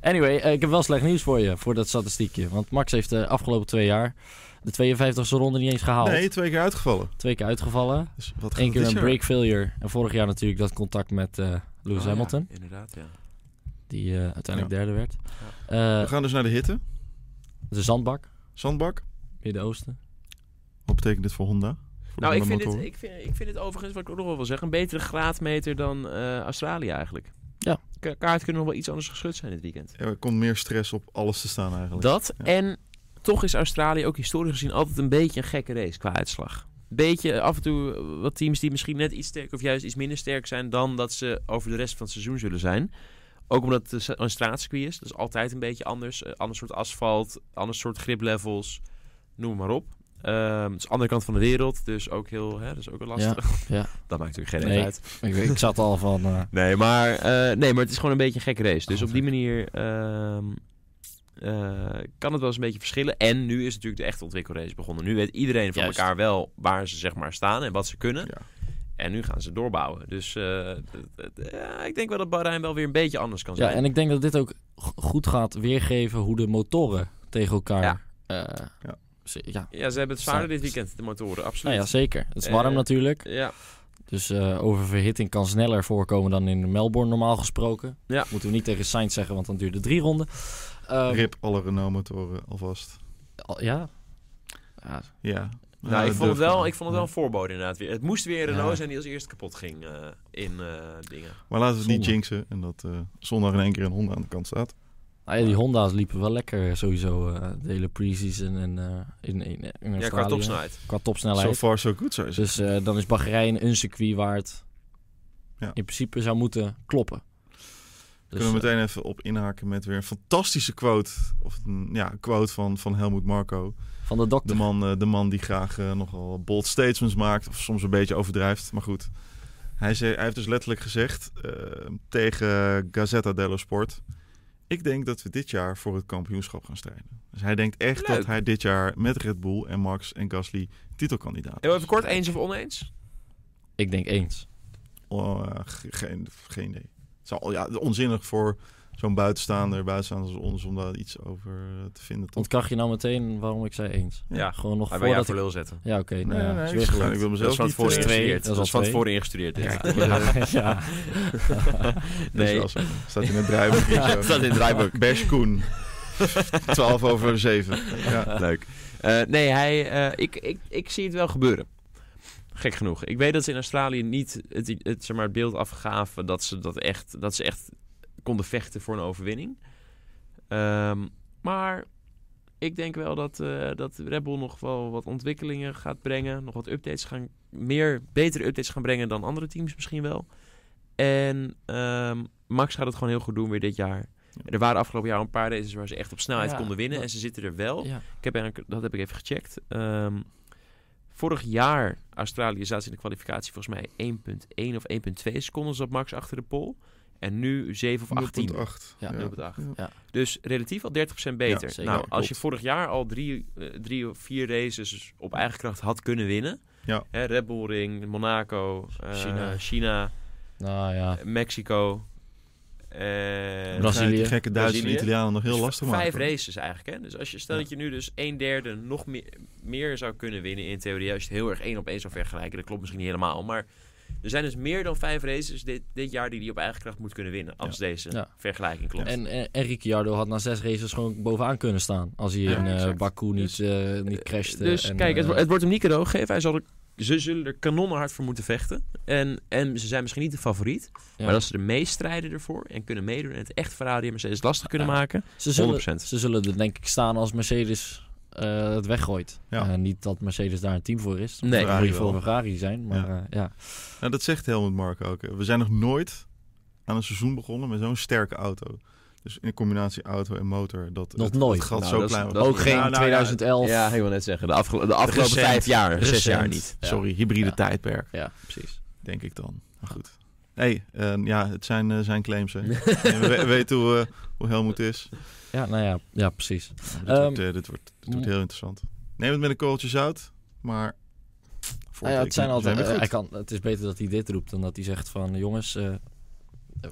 Speaker 2: Anyway, eh, ik heb wel slecht nieuws voor je, voor dat statistiekje. Want Max heeft de afgelopen twee jaar de 52e ronde niet eens gehaald.
Speaker 3: Nee, twee keer uitgevallen.
Speaker 2: Twee keer uitgevallen.
Speaker 3: Dus wat gaat
Speaker 2: Eén keer
Speaker 3: dit
Speaker 2: een
Speaker 3: jaar?
Speaker 2: break failure. En vorig jaar natuurlijk dat contact met eh,
Speaker 1: Oh,
Speaker 2: Lewis Hamilton.
Speaker 1: inderdaad, ja.
Speaker 2: Die eh, uiteindelijk derde werd.
Speaker 3: We
Speaker 2: Eh,
Speaker 3: gaan dus naar de hitte.
Speaker 2: de zandbak,
Speaker 3: Zandbak.
Speaker 2: Midden-Oosten.
Speaker 3: Wat betekent dit voor Honda? Voor
Speaker 1: Nou,
Speaker 3: de
Speaker 1: ik vind, dit,
Speaker 3: motoren.
Speaker 1: ik, vind, ik vind dit overigens, wat ik ook nog wel wil zeggen, een betere graadmeter dan eh, Australië eigenlijk.
Speaker 2: Ja.
Speaker 1: Ka- kaart kunnen nog wel iets anders geschud zijn dit weekend.
Speaker 3: Er komt meer stress op alles te staan eigenlijk.
Speaker 1: Dat
Speaker 3: Ja.
Speaker 1: en toch is Australië ook historisch gezien altijd een beetje een gekke race qua uitslag. Beetje eh, af en toe eh, wat teams die misschien net iets sterker of juist iets minder sterk zijn dan dat ze over de rest van het seizoen zullen zijn. Ook omdat het een straatcircuit is. Dat is altijd een beetje anders. Eh, ander soort asfalt, ander soort griplevels. Noem maar op. Ehm het is de andere kant van de wereld. Dus ook heel, hè, dat is ook wel lastig.
Speaker 2: Ja, ja.
Speaker 1: Dat maakt natuurlijk geen
Speaker 2: Nee.
Speaker 1: reet uit.
Speaker 2: Ik, weet- ik zat al van... eh,
Speaker 1: Nee, maar, eh, nee, maar het is gewoon een beetje een gekke race. Dus
Speaker 2: Oh,
Speaker 1: op die manier ehm, eh, kan het wel eens een beetje verschillen. En nu is natuurlijk de echte ontwikkelrace begonnen. Nu weet iedereen van
Speaker 2: Juist.
Speaker 1: elkaar wel waar ze zeg maar staan en wat ze kunnen.
Speaker 3: Ja.
Speaker 1: En nu gaan ze doorbouwen. Dus eh, d- d- ja, ik denk wel dat Bahrein wel weer een beetje anders kan
Speaker 2: ja,
Speaker 1: zijn.
Speaker 2: en ik denk dat dit ook go- goed gaat weergeven hoe de motoren tegen elkaar... eh,
Speaker 3: Ja.
Speaker 2: ze- ja.
Speaker 1: Ja, ze hebben het zwaarder dit weekend, de motoren. Absoluut.
Speaker 2: Nou ja, zeker. Het is warm
Speaker 1: Eh,
Speaker 2: natuurlijk.
Speaker 1: ja.
Speaker 2: Dus eh, oververhitting kan sneller voorkomen dan in Melbourne normaal gesproken.
Speaker 1: Ja.
Speaker 2: Moeten we niet tegen Sainz zeggen, want dan duurt het drie ronden. Ehm,
Speaker 3: Rip alle Renault-motoren alvast.
Speaker 2: al- ja. ja.
Speaker 3: Ja.
Speaker 1: Nou, ik,
Speaker 3: dat
Speaker 1: vond het
Speaker 3: durf
Speaker 1: wel,
Speaker 3: ik.
Speaker 1: ik vond het wel een voorbode inderdaad. weer. Het moest weer Renault
Speaker 2: Ja.
Speaker 1: zijn die als eerste kapot ging eh, in eh, dingen.
Speaker 3: Maar laten we het niet
Speaker 2: Zonde.
Speaker 3: jinxen. En dat eh, zondag in één keer een Honda aan de kant staat.
Speaker 2: Nou ja, die Honda's liepen wel lekker sowieso eh, de hele pre-season en eh, in, in, in
Speaker 1: Ja, qua
Speaker 2: Australië.
Speaker 1: topsnelheid.
Speaker 2: Qua
Speaker 1: Nou,
Speaker 3: So
Speaker 2: topsnelheid.
Speaker 3: far so good, zou je zeggen.
Speaker 2: Dus eh, dan is Bahrein een circuit waar het
Speaker 3: Ja.
Speaker 2: in principe zou moeten kloppen. Dus,
Speaker 1: eh,
Speaker 3: Kunnen we meteen even op inhaken met weer een fantastische quote. Of een ja, een quote van, van Helmoet Marco.
Speaker 2: eh, van de
Speaker 3: De
Speaker 2: dokter.
Speaker 3: man, eh, de man die graag eh, nogal bold statements maakt. Of soms een beetje overdrijft. Maar goed. Hij, zei, hij heeft dus letterlijk gezegd eh, tegen Gazzetta dello Sport. Ik denk dat we dit jaar voor het kampioenschap gaan strijden. Dus hij denkt echt
Speaker 1: Leuk.
Speaker 3: dat hij dit jaar met Red Bull en Max en Gasly titelkandidaat is.
Speaker 1: Heel Even kort, eens of oneens?
Speaker 2: Ik denk eens.
Speaker 3: Oh, eh, ge- geen, geen idee. Het zou, ja, onzinnig voor zo'n buitenstaander, buitenstaander als ons, om daar iets over eh, te vinden. Toch?
Speaker 2: Ontkracht je nou meteen waarom ik zei eens?
Speaker 1: Ja.
Speaker 2: Gewoon nog
Speaker 1: Hij wil jou
Speaker 2: voordat
Speaker 1: voor
Speaker 2: ik...
Speaker 1: lul zetten.
Speaker 2: Ja, oké. nou
Speaker 3: Nee,
Speaker 2: ja,
Speaker 3: nee,
Speaker 2: is
Speaker 3: ik,
Speaker 2: weer
Speaker 3: ga-
Speaker 2: gelukt.
Speaker 3: ik wil
Speaker 1: Dat is
Speaker 3: mezelf
Speaker 1: van
Speaker 3: niet
Speaker 1: tevoren
Speaker 3: eh,
Speaker 2: twee.
Speaker 1: ingestudeerd. Dat
Speaker 2: Dat is al
Speaker 1: is van
Speaker 2: twee.
Speaker 1: tevoren ingestudeerd. dit.
Speaker 3: Ja,
Speaker 2: ja.
Speaker 1: Nee.
Speaker 3: Nee. Staat in het draaiboek. hier zo.
Speaker 1: Staat in het draaiboek.
Speaker 3: Bash Koen. 12 over 7. Ja.
Speaker 1: Leuk. Eh, nee, hij, eh, ik, ik, ik zie het wel gebeuren. Gek genoeg. Ik weet dat ze in Australië niet het, het, zeg maar, het beeld afgaven dat ze, dat, echt, dat ze echt konden vechten voor een overwinning. Ehm, maar ik denk wel dat, eh, dat Red Bull nog wel wat ontwikkelingen gaat brengen. Nog wat updates gaan, meer, betere updates gaan brengen dan andere teams misschien wel. En ehm, Max gaat het gewoon heel goed doen weer dit jaar.
Speaker 3: Ja.
Speaker 1: Er waren afgelopen jaar een paar races waar ze echt op snelheid
Speaker 2: Ja,
Speaker 1: konden winnen.
Speaker 2: dat-
Speaker 1: En ze zitten er wel.
Speaker 2: ja.
Speaker 1: Ik heb eigenlijk, dat heb ik even gecheckt. Ehm, vorig jaar, Australië zaten ze in de kwalificatie volgens mij 1.1 of 1.2 seconden zat Max achter de pol. En nu 7 of 18.
Speaker 3: 0.8.
Speaker 2: Ja,
Speaker 1: 0.8.
Speaker 3: Ja.
Speaker 1: Dus relatief al 30%
Speaker 3: Ja,
Speaker 1: beter.
Speaker 2: zeker.
Speaker 1: nou, als
Speaker 3: Klopt.
Speaker 1: je vorig jaar al drie, eh, drie of vier races op eigen kracht had kunnen winnen.
Speaker 3: Ja.
Speaker 1: Hè, Red Bull Ring, Monaco, eh,
Speaker 2: China.
Speaker 1: China,
Speaker 2: Nou ja.
Speaker 1: Mexico. eh,
Speaker 3: Dan zijn die
Speaker 2: Brazilië.
Speaker 3: gekke Duitsers en
Speaker 1: Brazilië.
Speaker 3: Italianen nog heel
Speaker 1: dus
Speaker 3: lastig
Speaker 1: v-
Speaker 3: maken.
Speaker 1: Vijf
Speaker 3: hoor.
Speaker 1: races eigenlijk. Hè? Dus als je, stel
Speaker 3: Ja.
Speaker 1: dat je nu dus een derde nog meer, meer zou kunnen winnen in theorie. Als je het heel erg één op één zou vergelijken. Dat klopt misschien niet helemaal. Maar er zijn dus meer dan vijf races dit, dit jaar die hij op eigen kracht moet kunnen winnen. Als deze
Speaker 2: Ja.
Speaker 1: vergelijking klopt.
Speaker 2: En, en, en Ricciardo had na zes races gewoon bovenaan kunnen staan. Als hij
Speaker 1: Ja,
Speaker 2: in eh,
Speaker 1: exact.
Speaker 2: Baku niet,
Speaker 1: Dus-
Speaker 2: eh, niet crashte.
Speaker 1: Dus
Speaker 2: en,
Speaker 1: kijk, het,
Speaker 2: eh,
Speaker 1: wo- het wordt hem niet cadeau gegeven. Hij zal er, ze zullen er kanonnenhard voor moeten vechten. En, en ze zijn misschien niet de favoriet.
Speaker 2: ja.
Speaker 1: Maar dat ze er mee strijden ervoor en kunnen meedoen. En het echt Ferrari en Mercedes lastig kunnen
Speaker 2: Ja.
Speaker 1: maken.
Speaker 2: ze, zullen,
Speaker 1: 100%.
Speaker 2: ze zullen er denk ik staan als Mercedes eh, het weggooit.
Speaker 3: Ja.
Speaker 2: Eh, niet dat Mercedes daar een team voor is.
Speaker 1: Nee.
Speaker 2: Dat moet je
Speaker 3: Ferrari
Speaker 2: voor
Speaker 3: wel.
Speaker 2: Ferrari zijn. Maar ja. ja.
Speaker 3: Nou, dat zegt Helmut Mark ook. hè. We zijn nog nooit aan een seizoen begonnen met zo'n sterke auto. Dus in combinatie auto en motor. Dat,
Speaker 2: Nog
Speaker 3: het- het
Speaker 2: nooit.
Speaker 3: gat
Speaker 1: Nou,
Speaker 3: zo
Speaker 1: dat is-
Speaker 3: klein was.
Speaker 1: dat is-
Speaker 2: Ook geen
Speaker 3: Nou, nou ja,
Speaker 2: 2011. Ja,
Speaker 1: wil net zeggen. De,
Speaker 3: afgelopen Recent. vijf
Speaker 1: jaar,
Speaker 2: zes jaar niet. Ja.
Speaker 3: Sorry, hybride
Speaker 2: Ja.
Speaker 3: tijdperk,
Speaker 2: precies.
Speaker 3: denk ik dan. Maar goed. hey, eh, ja, het zijn, eh, zijn claims. Hè. En we we weten hoe, eh, hoe Helmut is.
Speaker 2: Ja, nou ja, ja precies.
Speaker 3: Nou, dit,
Speaker 2: Ehm,
Speaker 3: wordt, eh, dit, wordt, dit wordt heel interessant. Neem het met een korreltje zout, maar...
Speaker 1: Ah
Speaker 2: Nou ja, het, zijn altijd,
Speaker 3: weer
Speaker 2: eh, hij
Speaker 3: goed.
Speaker 2: kan, het is beter dat hij dit roept dan dat hij zegt van... jongens, eh,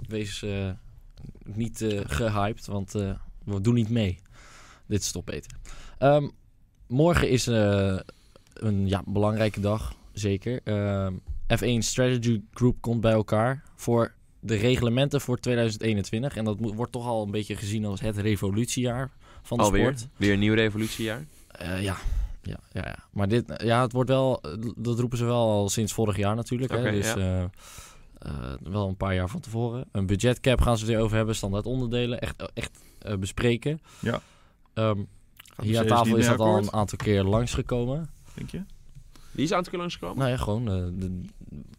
Speaker 2: wees eh, niet eh, gehyped, want eh, we doen niet mee. Dit is toch beter. Ehm, morgen is eh, een ja, belangrijke dag, zeker. Ehm, F1 Strategy Group komt bij elkaar voor de reglementen voor 2021. En dat moet- wordt toch al een beetje gezien als het revolutiejaar van de
Speaker 1: Alweer,
Speaker 2: sport.
Speaker 1: weer een nieuw revolutiejaar.
Speaker 2: Eh, ja, Ja, ja, ja. Maar dit, ja, het wordt wel, dat roepen ze wel al sinds vorig jaar natuurlijk.
Speaker 1: Oké,
Speaker 2: hè? Dus
Speaker 1: ja.
Speaker 2: eh, eh, wel een paar jaar van tevoren. Een budgetcap gaan ze het weer over hebben, standaard onderdelen, echt, echt eh, bespreken.
Speaker 3: Ja.
Speaker 2: Ehm, hier
Speaker 3: Gaat
Speaker 2: aan
Speaker 3: Mercedes
Speaker 2: tafel
Speaker 3: niet
Speaker 2: is
Speaker 3: mee
Speaker 2: dat al
Speaker 3: akkoord,
Speaker 2: een aantal keer langsgekomen.
Speaker 3: Denk je?
Speaker 1: Wie is aan het keer langsgekomen?
Speaker 2: Nou ja, gewoon eh, de-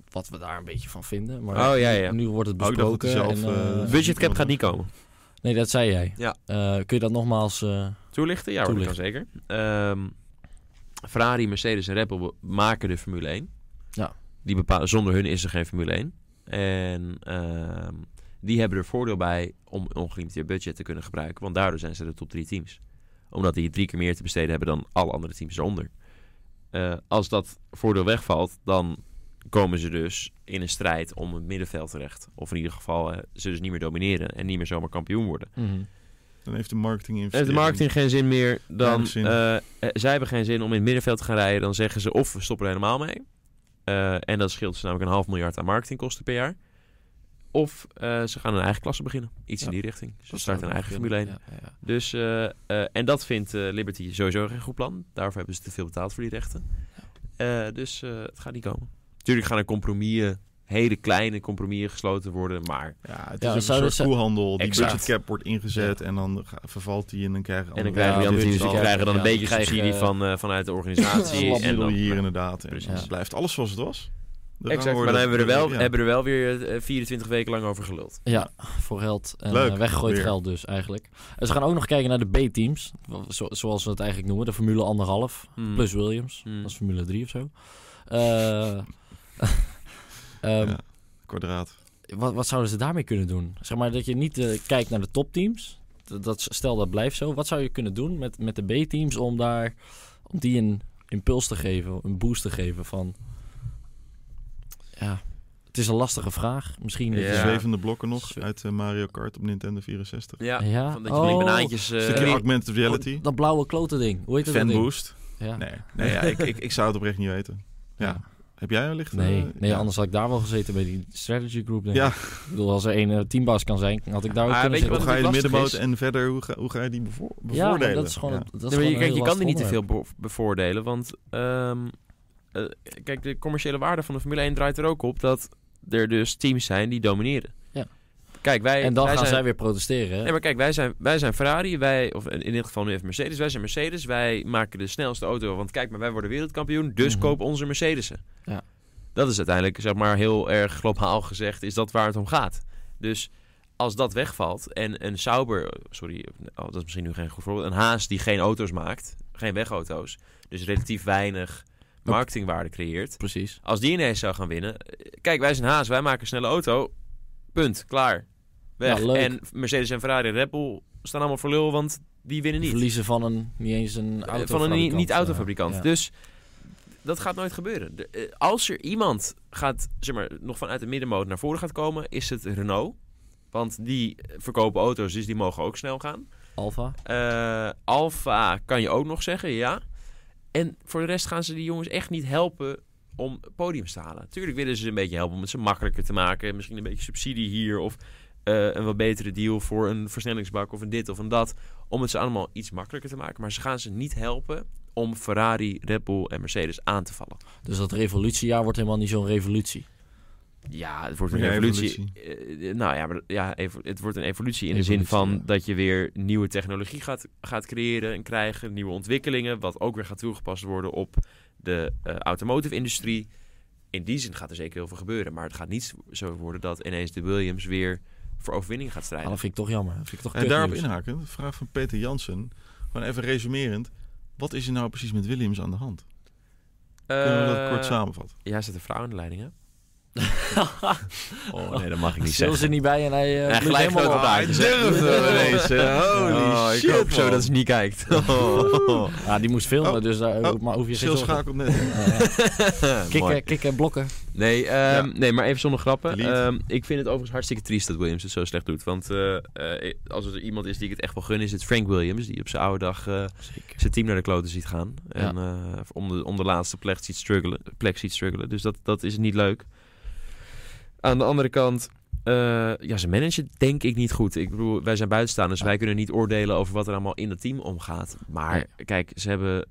Speaker 2: wat we daar een beetje van vinden. Maar
Speaker 1: Oh, ja, ja.
Speaker 2: nu wordt het
Speaker 3: Oh, ik dacht dat
Speaker 2: besproken.
Speaker 3: hij zelf,
Speaker 2: en, eh,
Speaker 3: eh,
Speaker 1: Budgetcap Nou, gaat niet komen.
Speaker 2: nee, dat zei jij.
Speaker 1: Ja.
Speaker 2: Eh, kun je dat nogmaals... eh,
Speaker 1: Toelichten? Ja, hoor, dat kan zeker. Ehm, Ferrari, Mercedes en Red Bull maken de Formule 1.
Speaker 2: Ja.
Speaker 1: Die bepalen, zonder hun is er geen Formule 1. En ehm, die hebben er voordeel bij om ongelimiteerd budget te kunnen gebruiken. Want daardoor zijn ze de top drie teams. Omdat die drie keer meer te besteden hebben dan alle andere teams eronder. Eh, als dat voordeel wegvalt, dan komen ze dus in een strijd om het middenveld terecht. Of in ieder geval eh, ze dus niet meer domineren en niet meer zomaar kampioen worden.
Speaker 3: Mhm. Dan heeft de marketing
Speaker 1: Heeft Eh, de
Speaker 3: investering.
Speaker 1: marketing geen zin meer, dan...
Speaker 3: Weinig zin.
Speaker 1: eh, eh, zij hebben geen zin om in het middenveld te gaan rijden. Dan zeggen ze of we stoppen er helemaal mee. eh, en dat scheelt ze namelijk een half miljard aan marketingkosten per jaar. Of eh, ze gaan een eigen klasse beginnen. Iets
Speaker 2: Ja.
Speaker 1: in die richting. Ze
Speaker 2: dat
Speaker 1: starten
Speaker 2: zou
Speaker 1: een
Speaker 2: ik
Speaker 1: eigen
Speaker 2: nog
Speaker 1: Formule 1.
Speaker 2: willen. Ja, ja, ja.
Speaker 1: Dus, eh, eh, en dat vindt eh, Liberty sowieso geen goed plan. Daarvoor hebben ze te veel betaald voor die rechten. Eh, dus eh, het gaat niet komen. Natuurlijk gaan er compromissen, hele kleine compromissen gesloten worden. Maar
Speaker 3: Ja, het
Speaker 2: Ja,
Speaker 3: is ook een
Speaker 2: zouden
Speaker 3: soort
Speaker 2: ze-
Speaker 3: koehandel. Die
Speaker 1: dus- Exact.
Speaker 3: budgetcap wordt ingezet en dan ga- vervalt die en dan krijgen
Speaker 1: en dan
Speaker 3: andere-
Speaker 1: krijgen die
Speaker 2: Ja,
Speaker 1: andere
Speaker 2: weer
Speaker 1: teams die
Speaker 2: zal-
Speaker 1: krijgen dan een
Speaker 2: ja,
Speaker 1: beetje
Speaker 2: krijgen,
Speaker 1: subsidie
Speaker 2: eh,
Speaker 1: van, eh, vanuit de
Speaker 3: een
Speaker 1: organisatie. en
Speaker 3: labmiddel
Speaker 1: dan,
Speaker 3: hier inderdaad. En
Speaker 1: Precies.
Speaker 3: het blijft alles zoals het was. De
Speaker 1: Exact,
Speaker 3: rangorde-
Speaker 1: maar dan hebben we er wel,
Speaker 3: ja.
Speaker 1: hebben we er wel weer eh, 24 weken lang over geluld.
Speaker 2: Ja, voor geld. En
Speaker 3: Leuk,
Speaker 2: eh, weggegooid
Speaker 3: weer.
Speaker 2: geld dus eigenlijk. En ze gaan ook nog kijken naar de B-teams. Zo, zoals we het eigenlijk noemen. De Formule anderhalf
Speaker 3: Mm.
Speaker 1: Hmm.
Speaker 2: Plus Williams.
Speaker 1: Hmm.
Speaker 2: Dat is Formule 3 of zo. Eh, ehm,
Speaker 3: Ja, kwadraat.
Speaker 2: wat, wat zouden ze daarmee kunnen doen? Zeg maar dat je niet eh, kijkt naar de topteams. Dat, dat, stel dat blijft zo. Wat zou je kunnen doen met, met de B-teams om daar om die een impuls te geven, een boost te geven van. Ja, het is een lastige vraag. Misschien. dat
Speaker 3: De
Speaker 2: je-
Speaker 1: Ja.
Speaker 3: zwevende blokken nog
Speaker 2: Zo-
Speaker 3: uit eh, Mario Kart op Nintendo 64.
Speaker 1: Ja,
Speaker 2: Ja.
Speaker 1: van dat je van die
Speaker 2: Oh.
Speaker 1: banaantjes... eh,
Speaker 3: Stukje augmented reality.
Speaker 2: Dat blauwe klote ding. Hoe heet dat ding?
Speaker 3: Fanboost.
Speaker 2: Ja.
Speaker 3: Nee, nee ja, ik, ik, ik zou het oprecht niet weten. Ja. Heb jij wellicht? eh,
Speaker 2: Nee, nee
Speaker 3: ja.
Speaker 2: anders had ik daar wel gezeten bij die strategy group. Denk ik.
Speaker 3: Ja.
Speaker 2: ik bedoel, als er één eh, teambaas kan zijn, had ik daar ook
Speaker 1: Maar
Speaker 2: kunnen
Speaker 1: weet je
Speaker 3: Hoe
Speaker 2: zitten.
Speaker 1: wat
Speaker 3: ga je de
Speaker 1: lastig
Speaker 3: middenmoot
Speaker 1: is-
Speaker 3: en verder, hoe ga, hoe ga je die bevo-
Speaker 2: ja,
Speaker 3: bevoordelen?
Speaker 2: maar dat is gewoon...
Speaker 3: Ja.
Speaker 2: een- Dat is
Speaker 1: nee, maar
Speaker 2: gewoon
Speaker 1: je,
Speaker 2: een
Speaker 1: kijk,
Speaker 2: heel
Speaker 1: je kan er niet te
Speaker 2: lastig
Speaker 1: veel bevo- bevoordelen, want... ehm, eh, kijk, de commerciële waarde van de Formule 1 draait er ook op dat er dus teams zijn die domineren.
Speaker 2: Ja.
Speaker 1: Kijk, wij,
Speaker 2: onderwerp. En dan
Speaker 1: wij
Speaker 2: gaan
Speaker 1: zijn,
Speaker 2: zij weer protesteren. hè?
Speaker 1: Nee, maar kijk, wij zijn, wij zijn Ferrari, wij, of in in dit geval nu even Mercedes. Wij zijn Mercedes, wij maken de snelste auto. Want kijk, maar wij worden wereldkampioen, dus
Speaker 2: Mhm.
Speaker 1: koop onze Mercedesen.
Speaker 2: Ja.
Speaker 1: Dat is uiteindelijk, zeg maar, heel erg globaal gezegd, is dat waar het om gaat. Dus als dat wegvalt en een Sauber, sorry, oh, dat is misschien nu geen goed voorbeeld, een Haas die geen auto's maakt, geen wegauto's, dus relatief weinig marketingwaarde creëert.
Speaker 2: Precies.
Speaker 1: Als die ineens zou gaan winnen, eh, kijk, wij zijn Haas, wij maken een snelle auto, punt, klaar, weg.
Speaker 2: Ja, leuk.
Speaker 1: en Mercedes en Ferrari en Red Bull staan allemaal voor lul, want die winnen niet.
Speaker 2: Verliezen van een niet eens een
Speaker 1: Eh,
Speaker 2: auto
Speaker 1: van een ni- niet-autofabrikant.
Speaker 2: Ja.
Speaker 1: Dus dat gaat nooit gebeuren. De- eh, als er iemand gaat, zeg maar, nog vanuit de middenmoot naar voren gaat komen, is het Renault. Want die verkopen auto's, dus die mogen ook snel gaan.
Speaker 2: Alfa.
Speaker 1: Eh, Alfa kan je ook nog zeggen, ja. En voor de rest gaan ze die jongens echt niet helpen om podiums te halen. Tuurlijk willen ze ze een beetje helpen om het ze makkelijker te maken. Misschien een beetje subsidie hier of eh, een wat betere deal voor een versnellingsbak of een dit of een dat. Om het ze allemaal iets makkelijker te maken. Maar ze gaan ze niet helpen om Ferrari, Red Bull en Mercedes aan te vallen.
Speaker 2: Dus dat revolutiejaar wordt helemaal niet zo'n revolutie.
Speaker 1: Ja, het wordt een
Speaker 3: Ja,
Speaker 1: evolutie. Eh, nou ja, maar, ja evo- het wordt een evolutie in de
Speaker 2: Evolutie,
Speaker 1: zin van
Speaker 2: ja.
Speaker 1: dat je weer nieuwe technologie gaat, gaat creëren en krijgen, nieuwe ontwikkelingen, wat ook weer gaat toegepast worden op de eh, automotive-industrie. In die zin gaat er zeker heel veel gebeuren, maar het gaat niet zo worden dat ineens de Williams weer voor overwinning gaat
Speaker 2: Ah,
Speaker 1: strijden.
Speaker 2: dat vind ik toch jammer. Dat vind ik toch
Speaker 3: En Eh, daarop
Speaker 2: kutnieuws.
Speaker 3: inhakend, de vraag van Peter Jansen. Gewoon even resumerend. Wat is er nou precies met Williams aan de hand? Kunnen we dat
Speaker 1: Eh,
Speaker 3: kort samenvatten?
Speaker 1: Ja, zit een vrouw aan de leiding, hè? Oh nee, dat mag ik niet
Speaker 2: Stil
Speaker 1: zeggen.
Speaker 2: ze niet bij en hij, eh
Speaker 1: Hij
Speaker 2: bloedt
Speaker 1: glijdt
Speaker 2: helemaal
Speaker 1: gewoon
Speaker 2: op.
Speaker 1: Ah, hij durft wel ineens, hè. Holy
Speaker 3: Oh,
Speaker 1: ik hoop zo dat ze niet kijkt.
Speaker 3: Oh.
Speaker 2: Ja, die moest filmen,
Speaker 3: Oh.
Speaker 2: dus daar
Speaker 3: Oh.
Speaker 2: maar hoef je geen
Speaker 3: Sil
Speaker 2: zorgen.
Speaker 3: schakelt net. in.
Speaker 2: Ja, ja.
Speaker 1: Mooi.
Speaker 2: Kikken, kikken, blokken.
Speaker 1: Nee, ehm,
Speaker 3: Ja.
Speaker 1: nee, maar even zonder grappen.
Speaker 3: Delete.
Speaker 1: Ehm, ik vind het overigens hartstikke triest dat Williams het zo slecht doet. Want eh, eh, als er iemand is die ik het echt wel gun, is het Frank Williams. Die op zijn oude dag eh,
Speaker 2: Zeker.
Speaker 1: zijn team naar de kloten ziet gaan. En eh, om, de, om de laatste plek ziet struggelen. Plek ziet struggelen. Dus dat, dat is niet leuk. Aan de andere kant, eh, ja, ze managen denk ik niet goed. Ik bedoel, wij zijn buitenstaanders. Wij kunnen niet oordelen over wat er allemaal in het team omgaat. Maar kijk, ze hebben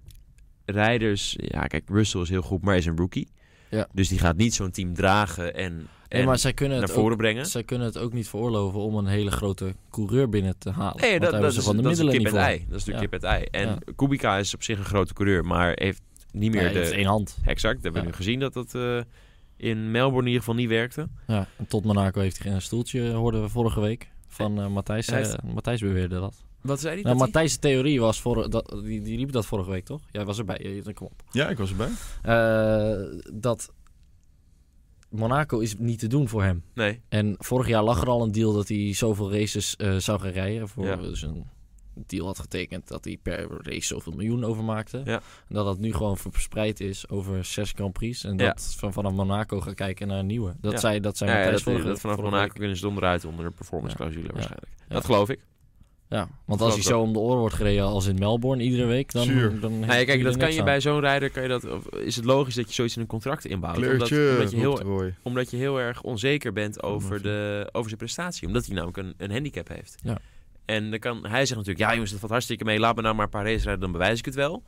Speaker 1: rijders... Ja, kijk, Russell is heel goed, maar hij is een rookie.
Speaker 2: Ja.
Speaker 1: Dus die gaat niet zo'n team dragen en, en
Speaker 2: Nee, maar zij kunnen,
Speaker 1: naar
Speaker 2: het ook,
Speaker 1: voren brengen.
Speaker 2: zij kunnen het ook niet veroorloven om een hele grote coureur binnen te halen.
Speaker 1: Nee,
Speaker 2: Want
Speaker 1: dat,
Speaker 2: daar
Speaker 1: dat,
Speaker 2: hebben
Speaker 1: is,
Speaker 2: ze van de
Speaker 1: dat is een
Speaker 2: middelen
Speaker 1: kip
Speaker 2: niet
Speaker 1: en
Speaker 2: voor.
Speaker 1: ei. Dat is natuurlijk
Speaker 2: Ja.
Speaker 1: kip en ei. En
Speaker 2: Ja.
Speaker 1: Kubica is op zich een grote coureur, maar heeft niet meer
Speaker 2: Nee,
Speaker 1: de...
Speaker 2: dat is één hand.
Speaker 1: Exact, dat hebben we nu
Speaker 2: Ja.
Speaker 1: gezien dat dat eh, in Melbourne in ieder geval niet werkte.
Speaker 2: Ja, en tot Monaco heeft hij een stoeltje, hoorden we vorige week. Van eh Matthijs,
Speaker 1: Hij
Speaker 2: eh, Matthijs beweerde dat.
Speaker 1: Wat zei hij?
Speaker 2: Nou, Matthijs' theorie was, voor, dat, die, die riep dat vorige week, toch? Jij was erbij, eh, kom op.
Speaker 3: Ja, ik was erbij.
Speaker 2: Eh, dat Monaco is niet te doen voor hem.
Speaker 1: Nee,
Speaker 2: En vorig jaar lag er al een deal dat hij zoveel races eh, zou gaan rijden. Voor,
Speaker 1: Ja.
Speaker 2: Dus een deal had getekend dat hij per race zoveel miljoen overmaakte.
Speaker 1: Ja.
Speaker 2: En dat dat nu gewoon verspreid is over zes Grand Prix. En
Speaker 1: Ja.
Speaker 2: dat van, vanaf Monaco gaan kijken naar een nieuwe. Dat
Speaker 1: Ja.
Speaker 2: zei, dat zei
Speaker 1: Ja, ja,
Speaker 2: Matthijs
Speaker 1: dat,
Speaker 2: vorige,
Speaker 1: dat vanaf
Speaker 2: vorige
Speaker 1: Monaco
Speaker 2: week.
Speaker 1: kunnen ze donderuit onder een performance clausule waarschijnlijk. Dat
Speaker 2: Ja.
Speaker 1: geloof ik.
Speaker 2: Ja, want
Speaker 1: geloof
Speaker 2: als hij
Speaker 1: ik
Speaker 2: zo om de oren wordt gereden als in Melbourne iedere week, dan...
Speaker 3: Zuur.
Speaker 2: dan heeft
Speaker 1: Nou ja,
Speaker 2: hij
Speaker 1: kijk,
Speaker 2: er
Speaker 1: dat kan
Speaker 2: niks
Speaker 1: je
Speaker 2: aan.
Speaker 1: bij zo'n rijder, kan je dat, of is het logisch dat je zoiets in een contract inbouwt.
Speaker 3: Kleurtje,
Speaker 1: omdat, omdat, je
Speaker 3: roept
Speaker 1: heel,
Speaker 3: Roy.
Speaker 1: omdat je heel erg onzeker bent over,
Speaker 3: Klopt.
Speaker 1: de, over zijn prestatie. Omdat hij namelijk een, een handicap heeft.
Speaker 2: Ja.
Speaker 1: En dan kan, hij zegt natuurlijk, ja jongens, dat valt hartstikke mee. Laat me nou maar een paar races rijden, dan bewijs ik het wel.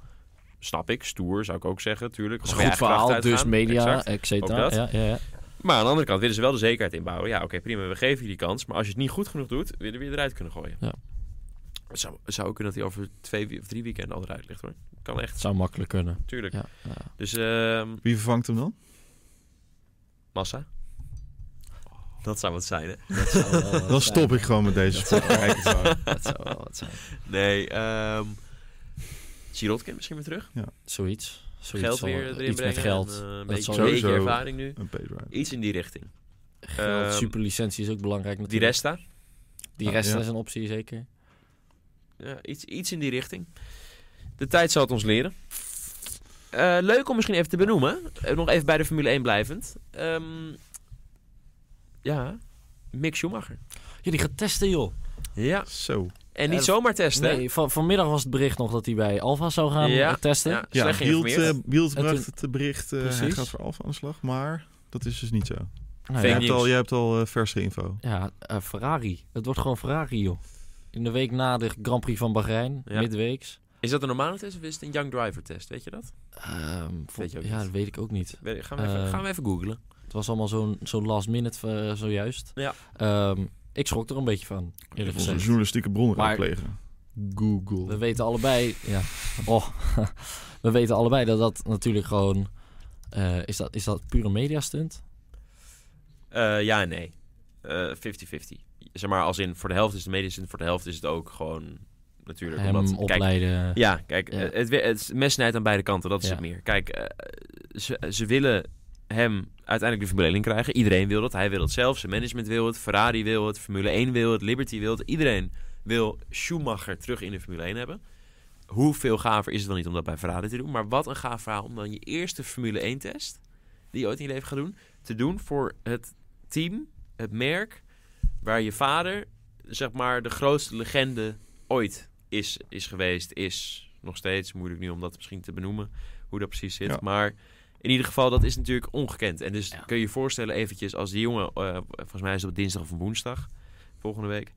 Speaker 1: Snap ik, stoer zou ik ook zeggen, tuurlijk.
Speaker 2: Dat is
Speaker 1: Gewoon
Speaker 2: een
Speaker 1: je
Speaker 2: goed
Speaker 1: eigen kracht
Speaker 2: verhaal, dus
Speaker 1: uitgaan.
Speaker 2: media,
Speaker 1: Exact.
Speaker 2: et
Speaker 1: Ook
Speaker 2: cetera.
Speaker 1: dat.
Speaker 2: Ja, ja, ja.
Speaker 1: Maar aan de andere kant willen ze wel de zekerheid inbouwen. Ja, oké, prima, we geven je die kans. Maar als je het niet goed genoeg doet, willen we je eruit kunnen gooien.
Speaker 2: Ja.
Speaker 1: Het zou, het zou ook kunnen dat hij over twee wie- of drie weekenden al eruit ligt hoor. Kan echt,
Speaker 2: Het zou makkelijk kunnen.
Speaker 1: tuurlijk.
Speaker 2: Ja, ja.
Speaker 1: Dus ehm,
Speaker 3: Wie vervangt hem dan?
Speaker 1: massa. Dat zou wat zijn, hè?
Speaker 2: Dat zou wel wat
Speaker 3: Dan
Speaker 2: zijn.
Speaker 3: stop ik gewoon met deze
Speaker 2: Dat
Speaker 3: sport.
Speaker 2: zou wel-
Speaker 3: Kijk het maar.
Speaker 2: Dat zou wel wat zijn.
Speaker 1: Nee, ehm Sirotkin misschien weer terug.
Speaker 2: Zoiets. Zoiets
Speaker 1: Geld
Speaker 2: zal-
Speaker 1: weer erin
Speaker 2: iets
Speaker 1: brengen.
Speaker 2: met geld.
Speaker 1: en, eh, een
Speaker 2: Dat
Speaker 1: beetje,
Speaker 2: zal-
Speaker 1: een beetje
Speaker 3: Sowieso.
Speaker 1: ervaring nu.
Speaker 3: Een paid ride.
Speaker 1: Iets in die richting.
Speaker 2: Geld,
Speaker 1: Ehm,
Speaker 2: superlicentie is ook belangrijk
Speaker 1: Die
Speaker 2: natuurlijk.
Speaker 1: resta.
Speaker 2: Die rest
Speaker 3: Ja.
Speaker 2: is een optie, zeker.
Speaker 1: Ja, Eh, iets, iets in die richting. De tijd zal het ons leren. Eh, leuk om misschien even te benoemen. Eh, nog even bij de Formule 1 blijvend. Ehm, ja, Mick Schumacher.
Speaker 2: Jullie gaan testen, joh.
Speaker 1: Ja.
Speaker 3: Zo.
Speaker 1: En niet
Speaker 2: Eh,
Speaker 1: zomaar testen. hè?
Speaker 2: Nee, van, vanmiddag was het bericht nog dat hij bij Alfa zou gaan
Speaker 1: Ja.
Speaker 2: eh, testen.
Speaker 1: Ja,
Speaker 3: Ja,
Speaker 1: slecht
Speaker 3: Wield,
Speaker 1: geïnformeerd.
Speaker 3: eh, Wield
Speaker 2: En
Speaker 3: bracht
Speaker 2: toen-
Speaker 3: het bericht. eh, hij
Speaker 2: Precies.
Speaker 3: gaat voor Alfa aan de slag, maar dat is dus niet zo.
Speaker 2: Nou,
Speaker 3: Jij
Speaker 1: Fake
Speaker 2: ja,
Speaker 3: hebt
Speaker 1: nieuws.
Speaker 3: al, jij hebt al eh, verse info.
Speaker 2: ja eh, Ferrari. Het wordt gewoon Ferrari, joh. In de week na de Grand Prix van Bahrein,
Speaker 1: Ja.
Speaker 2: midweeks.
Speaker 1: Is dat een normale test of is het een Young Driver test? Weet je dat?
Speaker 2: Ehm, vol-
Speaker 1: Weet je ook
Speaker 2: ja,
Speaker 1: niet.
Speaker 2: dat weet ik ook niet.
Speaker 1: Weet- Gaan we even,
Speaker 2: Eh,
Speaker 1: gaan we even googlen.
Speaker 2: Het was allemaal zo'n zo'n last minute eh, zojuist.
Speaker 1: Ja.
Speaker 2: Ehm, ik schrok er een beetje van,
Speaker 3: Even
Speaker 2: eerlijk
Speaker 3: onze
Speaker 2: gezegd.
Speaker 3: journalistieke bron
Speaker 2: Maar-
Speaker 3: raadplegen. Google.
Speaker 2: We weten allebei... Ja. Oh. We weten allebei dat dat natuurlijk gewoon... eh, is, dat, is dat pure mediastunt?
Speaker 1: Eh, ja en nee. Eh, 50-50. Zeg maar, als in voor de helft is de medisch en voor de helft is het ook gewoon natuurlijk.
Speaker 2: Hem
Speaker 1: omdat, kijk,
Speaker 2: opleiden...
Speaker 1: Ja, kijk,
Speaker 2: eh, Ja.
Speaker 1: Het, het, het mes snijdt aan beide kanten, dat is
Speaker 2: Ja.
Speaker 1: het meer. Kijk, eh, ze, ze willen hem uiteindelijk de Formule 1 in krijgen. Iedereen wil dat, hij wil het zelf, zijn management wil het, Ferrari wil het, Formule 1 wil het, Liberty wil het. Iedereen wil Schumacher terug in de Formule 1 hebben. Hoeveel gaver is het wel niet om dat bij Ferrari te doen? Maar wat een gaaf verhaal om dan je eerste Formule 1-test, die je ooit in je leven gaat doen, te doen voor het team, het merk, waar je vader, zeg maar, de grootste legende ooit is, is geweest, is nog steeds. Moeilijk nu om dat misschien te benoemen, hoe dat precies zit.
Speaker 3: Ja.
Speaker 1: Maar in ieder geval, dat is natuurlijk ongekend. En dus
Speaker 2: Ja.
Speaker 1: kun je je voorstellen eventjes, als die jongen, eh, volgens mij is het op dinsdag of woensdag, volgende week,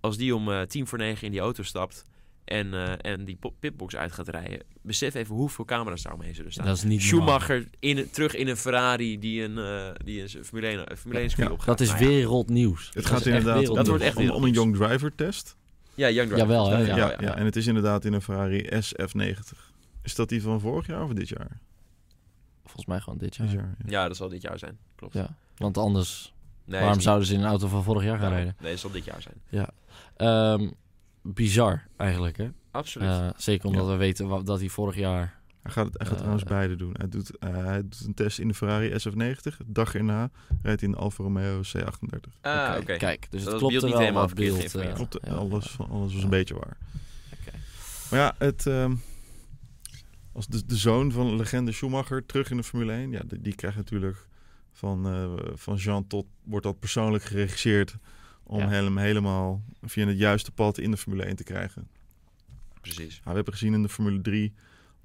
Speaker 1: als die om eh, tien voor negen in die auto stapt en, eh, en die po- pitbox uit gaat rijden, besef even hoeveel camera's daar omheen zullen staan.
Speaker 2: Dat is niet normaal.
Speaker 1: Schumacher in, terug in een Ferrari die een, eh, die een Formule 1, Formule 1 circuit
Speaker 3: Ja.
Speaker 1: opgaat.
Speaker 2: Dat is
Speaker 1: Nou ja.
Speaker 2: wereldnieuws.
Speaker 3: Het
Speaker 2: Dat
Speaker 3: gaat
Speaker 2: is echt
Speaker 3: inderdaad om,
Speaker 1: Dat
Speaker 3: de-
Speaker 1: wordt echt
Speaker 3: om- om een
Speaker 1: wereldnieuws.
Speaker 3: Young Driver test.
Speaker 1: Ja, Young Driver.
Speaker 2: Jawel, hè?
Speaker 3: ja,
Speaker 2: Ja,
Speaker 3: ja, en het is inderdaad in een Ferrari SF90. Is dat die van vorig jaar of dit jaar?
Speaker 2: Volgens mij gewoon dit
Speaker 3: Dit
Speaker 2: jaar.
Speaker 3: jaar, ja.
Speaker 1: Ja, dat zal dit jaar zijn. Klopt.
Speaker 2: Ja. Want anders,
Speaker 1: Nee,
Speaker 2: waarom
Speaker 1: is niet-
Speaker 2: zouden ze in een auto van vorig jaar gaan rijden?
Speaker 1: Nee, dat zal dit jaar zijn.
Speaker 2: Ehm, bizar eigenlijk, hè?
Speaker 1: Absoluut.
Speaker 2: Eh, zeker omdat
Speaker 3: Ja.
Speaker 2: we weten wa- dat hij vorig jaar...
Speaker 3: Hij gaat, hij gaat
Speaker 2: Eh,
Speaker 3: trouwens beide doen. Hij doet, eh, hij doet een test in de Ferrari SF90. De Dag erna rijdt hij in de Alfa Romeo C38.
Speaker 1: ah, oké.
Speaker 2: Kijk, dus
Speaker 1: Dat
Speaker 2: het
Speaker 1: was
Speaker 2: klopt
Speaker 1: beeld
Speaker 2: er
Speaker 1: niet
Speaker 2: wel
Speaker 1: helemaal
Speaker 2: wat
Speaker 1: verkeerd
Speaker 2: beeld.
Speaker 1: geïnformeerd.
Speaker 2: eh,
Speaker 3: Klopt,
Speaker 2: ja.
Speaker 3: alles, van- alles was een
Speaker 2: Ja.
Speaker 3: beetje waar.
Speaker 2: Oké.
Speaker 3: Maar ja, het, ehm, als de, de zoon van legende Schumacher terug in de Formule 1, ja, die, die krijgt natuurlijk van, eh, van Jean tot wordt dat persoonlijk geregisseerd om
Speaker 2: Ja.
Speaker 3: hem helemaal via het juiste pad in de Formule 1 te krijgen.
Speaker 1: Precies.
Speaker 3: Nou, we hebben gezien in de Formule 3,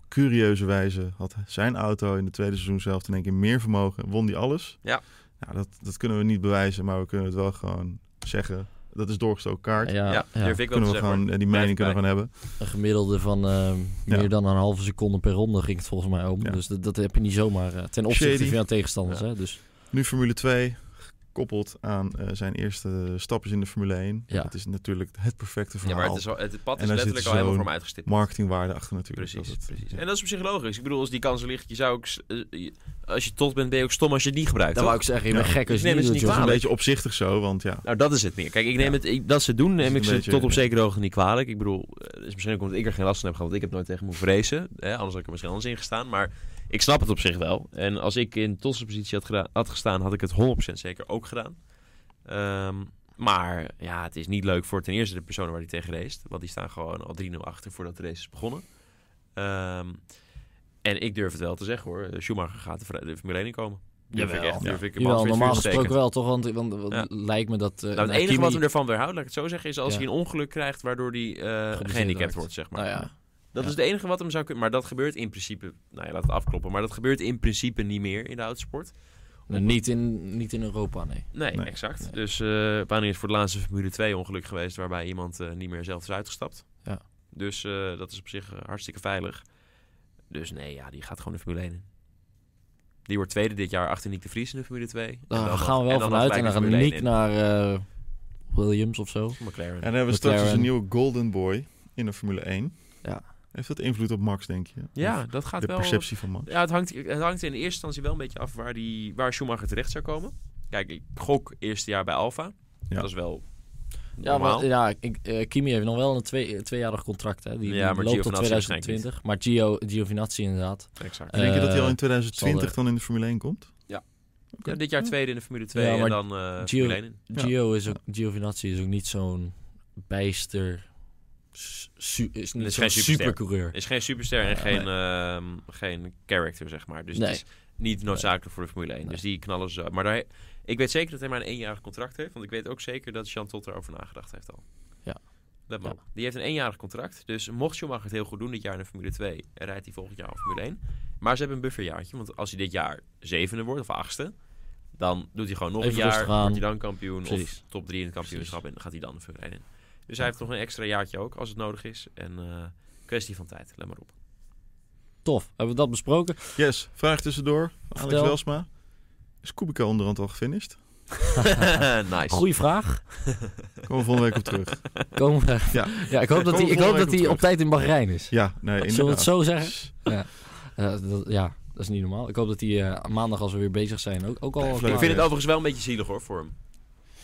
Speaker 3: curieuze wijze had zijn auto in de tweede seizoen zelf in één keer meer vermogen, won die alles.
Speaker 1: Ja.
Speaker 3: Nou, dat, dat kunnen we niet bewijzen, maar we kunnen het wel gewoon zeggen dat is doorgestoken kaart.
Speaker 2: Ja,
Speaker 1: ja,
Speaker 2: ja.
Speaker 1: durf ik wel te
Speaker 3: kunnen we
Speaker 1: zeggen. hoor.
Speaker 3: gewoon, eh, die mening kunnen we gewoon hebben.
Speaker 2: Een gemiddelde van eh, meer
Speaker 3: Ja.
Speaker 2: dan een halve seconde per ronde ging het volgens mij om.
Speaker 3: Ja.
Speaker 2: Dus dat, dat heb je niet zomaar eh, ten opzichte
Speaker 3: Shady.
Speaker 2: van jouw tegenstanders.
Speaker 1: Ja.
Speaker 2: Hè? Dus
Speaker 3: Nu Formule 2, gekoppeld aan eh, zijn eerste stapjes in de Formule 1.
Speaker 2: Ja.
Speaker 3: Dat is natuurlijk het perfecte
Speaker 1: Ja,
Speaker 3: verhaal.
Speaker 1: maar het, is al, het pad
Speaker 3: En
Speaker 1: is
Speaker 3: daar zit
Speaker 1: letterlijk al helemaal
Speaker 3: zo'n
Speaker 1: voor me uitgestipt.
Speaker 3: Marketingwaarde achter natuurlijk.
Speaker 1: Precies,
Speaker 3: Dat is het.
Speaker 1: precies.
Speaker 3: Ja.
Speaker 1: En dat is op zich logisch. Ik bedoel, als die kans er ligt, je zou ook, s- eh, je- als je tot bent, ben je ook stom als je het niet gebruikt.
Speaker 2: dat
Speaker 1: toch? Dus
Speaker 2: wou ik zeggen, je bent
Speaker 3: Ja.
Speaker 2: gek als je
Speaker 1: Nee,
Speaker 2: niet
Speaker 1: dat is
Speaker 2: doet,
Speaker 3: Het
Speaker 1: niet
Speaker 3: is een
Speaker 2: joh.
Speaker 1: kwalijk.
Speaker 3: beetje opzichtig zo, want ja.
Speaker 1: Nou, dat is het meer. Kijk, ik neem
Speaker 3: Ja.
Speaker 1: het, ik- dat ze het doen,
Speaker 3: is
Speaker 1: neem ik
Speaker 3: een
Speaker 1: ze
Speaker 3: beetje-
Speaker 1: tot op
Speaker 3: ja.
Speaker 1: zekere hoogte niet kwalijk. Ik bedoel, eh, dat is misschien ook omdat ik er geen last van heb gehad, want ik heb nooit tegen moeten vrezen. Hè? Anders had ik er misschien anders in gestaan, maar ik snap het op zich wel. En als ik in Totse positie had, gedaan, had gestaan, had ik het 100% zeker ook gedaan. Ehm, maar ja, het is niet leuk voor ten eerste de personen waar die tegen race. Want die staan gewoon al 3-0 achter voordat de race is begonnen. Ehm, en ik durf het wel te zeggen hoor. Schumacher gaat de, vrij- de Formule 1 in komen. Durf
Speaker 2: Jawel.
Speaker 1: ik echt.
Speaker 3: Ja.
Speaker 1: Durf ik hem hand
Speaker 2: Jawel,
Speaker 1: voor het vuur
Speaker 2: normaal
Speaker 1: te steken.
Speaker 2: gesproken wel, toch? Want, want, want
Speaker 1: Ja.
Speaker 2: lijkt me dat... eh,
Speaker 1: Nou, het
Speaker 2: nou,
Speaker 1: enige
Speaker 2: Kimi-
Speaker 1: wat hem ervan weerhoudt, laat ik het zo zeggen, is als
Speaker 2: Ja.
Speaker 1: hij een ongeluk krijgt waardoor hij eh
Speaker 2: raakt.
Speaker 1: gehandicapt wordt, zeg maar.
Speaker 2: Nou ja,
Speaker 1: Dat
Speaker 2: ja.
Speaker 1: is het enige wat hem zou kunnen. Maar dat gebeurt in principe, nou ja, laat het afkloppen, maar dat gebeurt in principe niet meer in de autosport.
Speaker 2: nou, niet, in, niet in Europa, nee.
Speaker 1: Nee,
Speaker 3: Nee.
Speaker 1: exact.
Speaker 2: Nee.
Speaker 1: Dus eh wanneer is voor het laatste Formule 2 ongeluk geweest waarbij iemand eh, niet meer zelf is uitgestapt?
Speaker 2: Ja.
Speaker 1: Dus eh, dat is op zich eh, hartstikke veilig. Dus nee, ja, die gaat gewoon de Formule 1 in. Die wordt tweede dit jaar achter Nick de Vries in de Formule 2. En
Speaker 2: Daar
Speaker 1: dan
Speaker 2: Ah, gaan
Speaker 1: nog-
Speaker 2: we wel
Speaker 1: en dan
Speaker 2: vanuit.
Speaker 1: nog
Speaker 2: En dan
Speaker 1: gelijk de
Speaker 2: gaan
Speaker 1: Formule 1
Speaker 2: Nick naar eh, Williams of zo.
Speaker 1: in. McLaren.
Speaker 3: En dan hebben we straks
Speaker 2: McLaren.
Speaker 3: dus een nieuwe Golden Boy in de Formule 1.
Speaker 2: Ja.
Speaker 3: Heeft dat invloed op Max, denk je?
Speaker 1: ja,
Speaker 3: Of
Speaker 1: dat gaat
Speaker 3: de
Speaker 2: eh,
Speaker 1: wel...
Speaker 3: perceptie van Max.
Speaker 1: Ja, het hangt, het hangt in eerste instantie wel een beetje af waar, die, waar Schumacher terecht zou komen. Kijk, ik gok eerste jaar bij Alfa.
Speaker 3: Ja.
Speaker 1: Dat is wel
Speaker 2: Ja,
Speaker 1: normaal.
Speaker 2: maar, ja ik, eh, Kimi heeft nog wel een twee, tweejarig contract. Hè. Die
Speaker 1: Ja, maar
Speaker 2: loopt tot
Speaker 1: Giovinazzi waarschijnlijk
Speaker 2: 2020. Maar Gio, Giovinazzi inderdaad.
Speaker 1: exact.
Speaker 2: Eh,
Speaker 3: denk je dat hij al
Speaker 2: zal
Speaker 3: in
Speaker 2: de-
Speaker 1: eh,
Speaker 3: 2020 dan in de Formule 1 komt?
Speaker 1: ja, dit jaar tweede in de Formule 2
Speaker 2: Ja,
Speaker 1: en
Speaker 2: maar
Speaker 1: dan eh
Speaker 2: Gio-
Speaker 1: Formule 1 in.
Speaker 3: Ja.
Speaker 2: Gio is ook, Giovinazzi is ook niet zo'n bijster... s- su- is
Speaker 1: geen
Speaker 2: niet zo'n
Speaker 1: superster.
Speaker 2: supercoureur.
Speaker 1: Is geen superster en
Speaker 2: Ja,
Speaker 1: geen, ehm, geen character, zeg maar. Dus
Speaker 2: Nee.
Speaker 1: het is niet noodzakelijk voor de Formule 1.
Speaker 2: Nee.
Speaker 1: Dus die knallen ze. Maar daar, ik weet zeker dat hij maar een eenjarig contract heeft. Want ik weet ook zeker dat Jean Tot erover nagedacht heeft al.
Speaker 2: Ja.
Speaker 1: Let maar
Speaker 2: Ja.
Speaker 1: op. Die heeft een eenjarig contract. Dus mocht Schumacher het heel goed doen dit jaar in de Formule 2... en rijdt hij volgend jaar in Formule 1. Maar ze hebben een bufferjaartje. Want als hij dit jaar zevende wordt of achtste... dan doet hij gewoon nog
Speaker 2: Even
Speaker 1: een jaar.
Speaker 2: rustig aan.
Speaker 1: Wordt hij dan kampioen
Speaker 2: Precies.
Speaker 1: of top 3 in het kampioenschap... en dan gaat hij dan de Formule 1 in. Dus hij heeft nog een extra jaartje ook, als het nodig is. En eh, kwestie van tijd, let maar op.
Speaker 2: Tof, hebben we dat besproken?
Speaker 3: Yes, vraag tussendoor. Alex
Speaker 2: Vertel.
Speaker 3: Welsma. Is Kubica onderhand al gefinished?
Speaker 1: nice.
Speaker 2: Goeie vraag.
Speaker 3: Komen we volgende week op terug.
Speaker 2: Komen we-
Speaker 3: Ja.
Speaker 2: ja, ik hoop dat hij
Speaker 3: Komen we
Speaker 2: ik hoop
Speaker 3: volgende
Speaker 2: dat
Speaker 3: week
Speaker 2: hij
Speaker 3: op
Speaker 2: op tijd in Bahrein is.
Speaker 3: Ja, nee, inderdaad.
Speaker 2: Zullen we het zo zeggen?
Speaker 3: Sss,
Speaker 2: Eh, dat, ja, dat is niet normaal. Ik hoop dat hij eh, maandag, als we weer bezig zijn, ook, ook al...
Speaker 3: Nee,
Speaker 2: klaar
Speaker 3: ik
Speaker 1: Ik
Speaker 3: Maar,
Speaker 1: vind
Speaker 2: is.
Speaker 1: het overigens wel een beetje zielig hoor voor hem.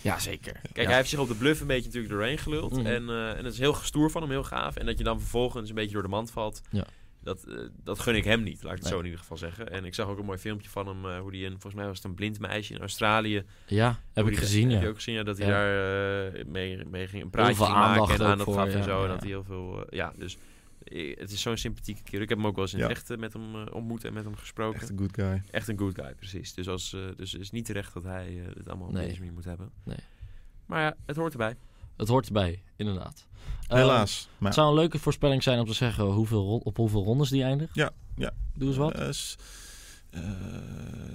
Speaker 2: Ja, zeker.
Speaker 1: Kijk, hij heeft zich op de bluff een beetje natuurlijk doorheen geluld.
Speaker 2: Mhm.
Speaker 1: En, eh, en dat is heel gestoer van hem, heel gaaf. En dat je dan vervolgens een beetje door de mand valt.
Speaker 2: Ja.
Speaker 1: Dat, eh, dat gun ik hem niet, laat ik het
Speaker 2: Nee.
Speaker 1: zo in ieder geval zeggen. En ik zag ook een mooi filmpje van hem, eh, hoe die een, volgens mij was het een blind meisje in Australië.
Speaker 2: Ja, heb
Speaker 1: Hoe
Speaker 2: ik
Speaker 1: die-
Speaker 2: gezien,
Speaker 1: Heb
Speaker 2: ja.
Speaker 1: je ook gezien ja, dat hij
Speaker 2: Ja.
Speaker 1: daar eh, mee, mee ging een praatje
Speaker 2: veel
Speaker 1: ging maken
Speaker 2: aandacht
Speaker 1: en
Speaker 2: ook
Speaker 1: aandacht
Speaker 2: voor,
Speaker 1: gaf en
Speaker 2: ja,
Speaker 1: zo.
Speaker 2: ja.
Speaker 1: En dat hij heel veel, eh, ja, dus eh, het is zo'n sympathieke kerel. Ik heb hem ook wel eens in het
Speaker 3: Ja.
Speaker 1: echt eh, met hem eh, ontmoet en met hem gesproken.
Speaker 3: Echt een good guy.
Speaker 1: Echt een good guy, precies. Dus, als, eh, dus het is niet terecht dat hij eh, het allemaal op
Speaker 2: Nee.
Speaker 1: deze manier moet hebben.
Speaker 2: Nee.
Speaker 1: Maar ja, het hoort erbij.
Speaker 2: Het hoort erbij, inderdaad. Ehm,
Speaker 3: Helaas. Maar
Speaker 2: Het zou een leuke voorspelling zijn om te zeggen hoeveel, ron- op hoeveel rondes die eindigt.
Speaker 3: Ja, ja.
Speaker 2: Doe eens wat.
Speaker 3: Eh, s- eh,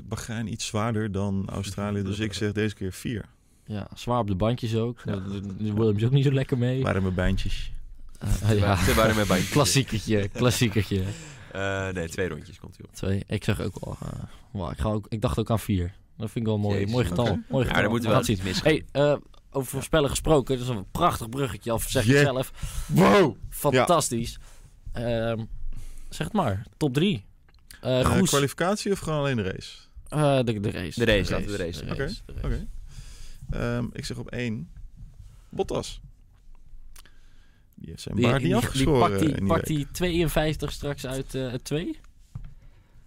Speaker 3: Bahrein iets zwaarder dan Australië. Dus ik zeg deze keer vier.
Speaker 2: Ja, zwaar op de bandjes ook.
Speaker 3: Ja.
Speaker 2: Ja. Williams ook niet zo lekker mee.
Speaker 3: Waren mijn bijntjes.
Speaker 2: Eh, ja.
Speaker 1: Ze waren met bij.
Speaker 2: Klassiekertje, klassiekertje.
Speaker 1: Eh, nee, twee rondjes komt hij op.
Speaker 2: Twee. Ik zeg ook wel... eh, wauw, ik, ga ook, ik dacht ook aan vier. Dat vind ik wel een mooi,
Speaker 1: Jezus,
Speaker 2: mooi getal.
Speaker 3: oké.
Speaker 2: Mooi getal.
Speaker 1: Ja, daar moeten we
Speaker 2: gaan
Speaker 1: wel
Speaker 2: zien.
Speaker 1: iets misgaan.
Speaker 2: Hey, eh, over voorspellen gesproken. Dat is een prachtig bruggetje, al zeg
Speaker 3: Yeah.
Speaker 2: het zelf.
Speaker 3: Wow!
Speaker 2: Fantastisch. Ehm, zeg het maar. Top drie. Eh
Speaker 3: Eh,
Speaker 2: Goes,
Speaker 3: kwalificatie of gewoon alleen de race?
Speaker 2: eh, de, de
Speaker 1: De
Speaker 2: race.
Speaker 1: race, laten we de race doen.
Speaker 2: de race, de race.
Speaker 3: Oké. Ehm, ik zeg op één. Bottas. Die heeft zijn
Speaker 2: Die-
Speaker 3: baard
Speaker 2: die-
Speaker 3: niet
Speaker 2: die- Die
Speaker 3: afgeschoren. eh,
Speaker 2: pakt
Speaker 3: in
Speaker 2: die,
Speaker 3: die
Speaker 2: pakt
Speaker 3: week.
Speaker 2: die 52 straks uit eh, het 2.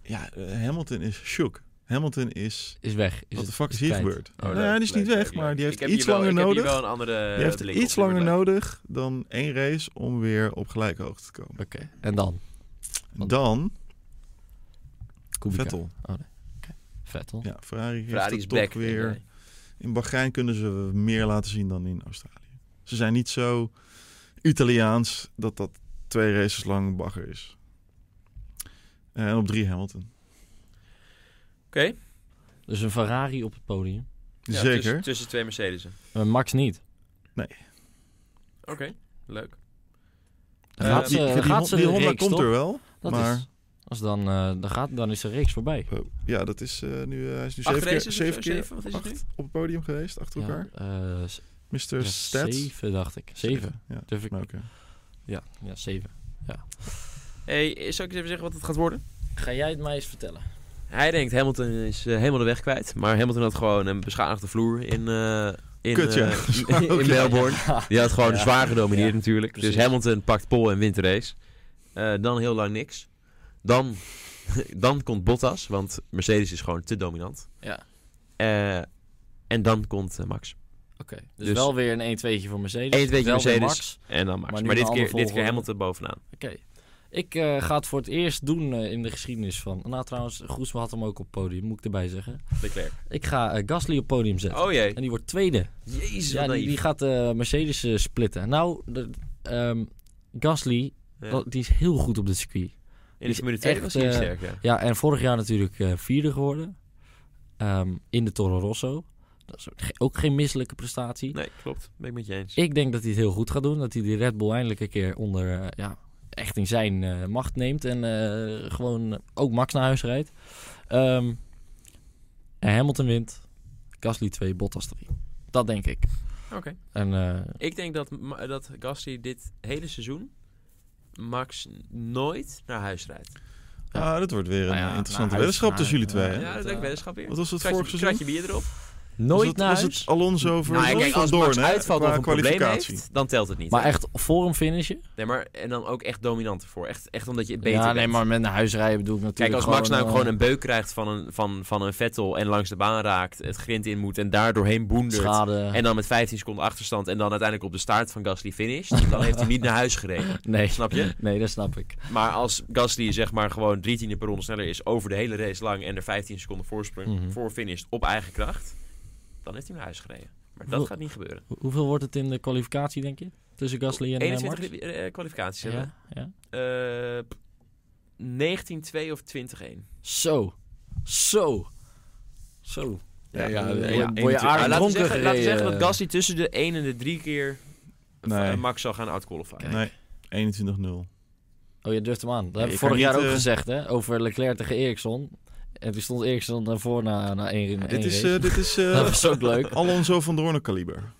Speaker 3: Ja, eh, Hamilton is shook. Hamilton is...
Speaker 2: Is weg. Is
Speaker 3: Wat de
Speaker 2: het-
Speaker 3: fuck is
Speaker 2: het
Speaker 3: hier
Speaker 2: kwijt.
Speaker 3: gebeurd?
Speaker 1: Oh,
Speaker 3: nou,
Speaker 1: leuk,
Speaker 3: ja, die is
Speaker 1: leuk,
Speaker 3: niet weg,
Speaker 1: leuk,
Speaker 3: maar
Speaker 1: leuk.
Speaker 3: die heeft
Speaker 1: Ik heb
Speaker 3: iets
Speaker 1: hier wel-
Speaker 3: langer
Speaker 1: Ik heb
Speaker 3: nodig.
Speaker 1: hier wel een andere eh,
Speaker 3: die heeft
Speaker 1: blik op,
Speaker 3: iets
Speaker 1: maar
Speaker 3: langer
Speaker 1: leuk.
Speaker 3: nodig dan één race om weer op gelijke hoogte te komen.
Speaker 2: Oké. En dan? Want-
Speaker 3: Dan
Speaker 2: Kubica. Oh,
Speaker 3: Vettel.
Speaker 2: Vettel.
Speaker 3: Ja, Ferrari heeft
Speaker 1: Ferrari
Speaker 3: het
Speaker 1: is
Speaker 3: toch
Speaker 1: back.
Speaker 3: weer...
Speaker 1: Nee.
Speaker 3: In Bahrein kunnen ze meer laten zien dan in Australië. Ze zijn niet zo Italiaans dat dat twee races lang bagger is. Eh, En op drie Hamilton.
Speaker 1: Oké.
Speaker 2: Dus een Ferrari op het podium.
Speaker 1: Ja, eh,
Speaker 3: Zeker.
Speaker 1: Tussen, tussen twee Mercedes'en.
Speaker 2: Eh, Max niet.
Speaker 3: Nee.
Speaker 1: Oké, leuk.
Speaker 2: Dan
Speaker 1: Eh,
Speaker 2: gaat
Speaker 1: die-
Speaker 2: ze, dan gaat ze
Speaker 3: die
Speaker 2: de
Speaker 3: Honda
Speaker 2: reeks,
Speaker 3: komt
Speaker 2: toch?
Speaker 3: er wel.
Speaker 2: Dat
Speaker 3: maar-
Speaker 2: is, als dan, eh, dan, gaat, dan is de reeks voorbij.
Speaker 3: Oh, ja, dat is eh, nu. eh, hij is nu
Speaker 1: Acht
Speaker 3: zeven keer,
Speaker 1: races of
Speaker 3: zeven
Speaker 1: zo?
Speaker 3: keer
Speaker 1: Zeven? Wat is het nu?
Speaker 3: op het podium geweest, achter elkaar.
Speaker 2: Ja, eh, s-
Speaker 3: Mr.
Speaker 2: ja,
Speaker 3: Stats. Nou.
Speaker 2: Zeven, dacht ik. Zeven.
Speaker 3: Ja,
Speaker 2: Durf ik,
Speaker 3: maar oké.
Speaker 2: ja, ja, zeven.
Speaker 1: hey, zou ik eens even zeggen wat het gaat worden?
Speaker 2: Ga jij het mij eens vertellen?
Speaker 1: Hij denkt Hamilton is eh, helemaal de weg kwijt. Maar Hamilton had gewoon een beschadigde vloer in, eh, in,
Speaker 3: Kut, ja.
Speaker 1: eh,
Speaker 3: Dat wou ik
Speaker 1: in
Speaker 3: ook
Speaker 1: Melbourne. Die had gewoon
Speaker 2: Ja.
Speaker 1: zwaar gedomineerd
Speaker 2: Ja,
Speaker 1: natuurlijk. Dus
Speaker 2: precies.
Speaker 1: Hamilton pakt pole en wint de race. Eh, dan heel lang niks. Dan, dan komt Bottas, want Mercedes is gewoon te dominant.
Speaker 2: Ja,
Speaker 1: Eh, en dan komt eh, Max.
Speaker 2: oké. Dus,
Speaker 1: Dus-
Speaker 2: wel weer een 1-2'tje voor Mercedes.
Speaker 1: 1-2'tje
Speaker 2: wel
Speaker 1: Mercedes.
Speaker 2: weer Max.
Speaker 1: En dan Max. Maar,
Speaker 2: Maar nu een
Speaker 1: dit, keer,
Speaker 2: andere
Speaker 1: dit keer
Speaker 2: volgorde.
Speaker 1: Hamilton bovenaan.
Speaker 2: Oké. Ik eh, ga het voor het eerst doen eh, in de geschiedenis van... Nou, trouwens, Groesman had hem ook op het podium, moet ik erbij zeggen.
Speaker 1: Leclerc.
Speaker 2: Ik ga eh, Gasly op het podium zetten.
Speaker 1: Oh jee.
Speaker 2: En die wordt tweede.
Speaker 1: Jezus,
Speaker 2: Ja,
Speaker 1: wat
Speaker 2: die,
Speaker 1: naïef.
Speaker 2: die gaat eh, Mercedes eh, splitten. Nou, de- ehm, Gasly,
Speaker 1: Ja.
Speaker 2: dat- die is heel goed op dit circuit.
Speaker 1: In de
Speaker 2: is
Speaker 1: Formule 2
Speaker 2: echt,
Speaker 1: was hij
Speaker 2: eh,
Speaker 1: sterk, ja.
Speaker 2: Ja, en vorig jaar natuurlijk eh, vierde geworden. Ehm, in de Toro Rosso. Dat is ook ge- ook geen misselijke prestatie.
Speaker 1: Nee, klopt. Ben ik met je eens.
Speaker 2: Ik denk dat hij het heel goed gaat doen. Dat hij die Red Bull eindelijk een keer onder... eh, ja, echt in zijn eh, macht neemt. En eh, gewoon eh, ook Max naar huis rijdt. Ehm, en Hamilton wint. Gasly 2, Bottas 3. Dat denk ik.
Speaker 1: Oké.
Speaker 2: En eh,
Speaker 1: Ik denk dat, Ma- dat Gasly dit hele seizoen Max nooit naar huis rijdt.
Speaker 2: Ja.
Speaker 3: Ah, dat wordt weer een
Speaker 2: Nou ja,
Speaker 3: eh, interessante
Speaker 2: naar huis,
Speaker 3: weddenschap tussen
Speaker 2: naar-
Speaker 3: jullie twee.
Speaker 1: Ja,
Speaker 3: hè?
Speaker 2: Ja,
Speaker 1: dat
Speaker 2: het,
Speaker 1: denk ik
Speaker 2: eh,
Speaker 1: wetenschap weer.
Speaker 3: Wat was dat
Speaker 1: Kratje-
Speaker 3: vorig
Speaker 1: kratje
Speaker 3: seizoen?
Speaker 1: bier erop.
Speaker 3: Was
Speaker 2: nooit
Speaker 3: het,
Speaker 2: naar
Speaker 3: was
Speaker 2: huis.
Speaker 3: het Alonso versus
Speaker 1: Nou, kijk,
Speaker 3: Van
Speaker 1: als Max
Speaker 3: Doorn, hè?
Speaker 1: uitvalt of
Speaker 3: qua
Speaker 1: een probleem
Speaker 3: kwalificatie.
Speaker 1: heeft, dan telt het niet.
Speaker 2: Maar
Speaker 1: hè?
Speaker 2: echt voor een finishje?
Speaker 1: Nee, maar, en dan ook echt dominant ervoor. Echt, echt omdat je het beter
Speaker 2: ja, nee,
Speaker 1: bent.
Speaker 2: maar met naar huis rijden bedoel ik
Speaker 1: Kijk,
Speaker 2: natuurlijk
Speaker 1: als Max nou ook
Speaker 2: eh,
Speaker 1: gewoon een beuk krijgt van een, van, van een Vettel en langs de baan raakt, het grind in moet en daar doorheen boendert.
Speaker 2: schade...
Speaker 1: En dan met 15 seconden achterstand en dan uiteindelijk op de staart van Gasly finisht, dan heeft hij niet naar huis gereden.
Speaker 2: nee.
Speaker 1: Snap je?
Speaker 2: Nee, dat snap ik.
Speaker 1: Maar als Gasly zeg maar gewoon 13 per ronde sneller is over de hele race lang en er 15 seconden voorsprong
Speaker 2: Mhm.
Speaker 1: voor finisht op eigen kracht, dan heeft hij naar huis gereden. Maar dat
Speaker 2: Hoe-
Speaker 1: gaat niet gebeuren.
Speaker 2: Ho- Hoeveel wordt het in de kwalificatie, denk je? Tussen Gasly en eh,
Speaker 1: 21
Speaker 2: Max?
Speaker 1: eh, eh, kwalificaties hebben
Speaker 2: Ja, ja.
Speaker 1: we. Eh, p- 19-2 of 20-1.
Speaker 2: Zo. Zo. Zo.
Speaker 3: Ja,
Speaker 2: Ja,
Speaker 3: ja,
Speaker 2: eh, word je
Speaker 3: ja, één,
Speaker 2: aardig
Speaker 3: twee.
Speaker 1: Maar laten we
Speaker 2: dronken
Speaker 1: zeggen, laten we zeggen dat
Speaker 2: gereden.
Speaker 1: Gasly tussen de 1 en de 3 keer
Speaker 3: Nee.
Speaker 1: eh, Max zal gaan outqualifyen.
Speaker 3: Nee, 21-0.
Speaker 2: Oh, je durft hem aan. Dat heb
Speaker 3: je
Speaker 2: ik
Speaker 3: kan
Speaker 2: vorig jaar
Speaker 3: niet,
Speaker 2: ook
Speaker 3: eh,
Speaker 2: gezegd, hè? Over Leclerc tegen Eriksson. En toen stond Eriksson daarvoor na, na één, één
Speaker 3: Dit is,
Speaker 2: race.
Speaker 3: eh, dit is eh,
Speaker 2: Dat was ook leuk.
Speaker 3: Alonso van Doorn kaliber.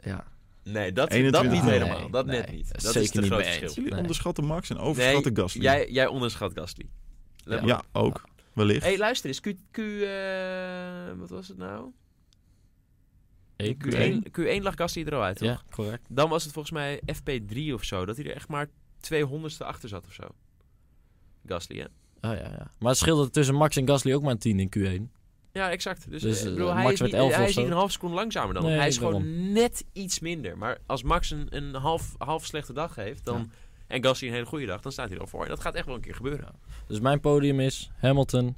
Speaker 2: Ja.
Speaker 1: Nee, dat, dat
Speaker 3: 21.
Speaker 1: niet
Speaker 3: Nee,
Speaker 1: helemaal. Dat net
Speaker 2: nee.
Speaker 1: niet. Dat
Speaker 2: Zeker
Speaker 1: is te
Speaker 2: niet
Speaker 1: groot
Speaker 2: mee eens.
Speaker 1: verschil.
Speaker 3: Jullie
Speaker 2: Nee.
Speaker 3: onderschatten Max en overschatten
Speaker 1: Nee,
Speaker 3: Gasly.
Speaker 1: Jij, jij onderschat Gasly. Let
Speaker 2: Ja.
Speaker 1: maar.
Speaker 3: Ja, ook. Wellicht.
Speaker 1: Hé, hey, luister eens. Q... Q eh, wat was het nou?
Speaker 2: Eén,
Speaker 1: Q1, Q1 lag Gasly er al uit, toch?
Speaker 2: Ja, correct.
Speaker 1: Dan was het volgens mij FP3 of zo. Dat hij er echt maar 200ste achter zat of zo. Gasly, hè?
Speaker 2: Oh, ja, ja. Maar het scheelde tussen Max en Gasly ook maar een 10 in Q1.
Speaker 1: Ja, exact. Dus,
Speaker 2: Dus,
Speaker 1: eh, ik
Speaker 2: eh,
Speaker 1: bedoel, hij,
Speaker 2: Max
Speaker 1: is
Speaker 2: werd
Speaker 1: niet,
Speaker 2: 11
Speaker 1: hij
Speaker 2: of
Speaker 1: is niet
Speaker 2: zo.
Speaker 1: een half seconde langzamer dan. hem.
Speaker 2: Nee,
Speaker 1: hij is
Speaker 2: daarom.
Speaker 1: gewoon net iets minder. Maar als Max een, een half, half slechte dag heeft dan, en Gasly een hele goede dag, dan staat hij er al voor. En dat gaat echt wel een keer gebeuren.
Speaker 2: Dus mijn podium is Hamilton,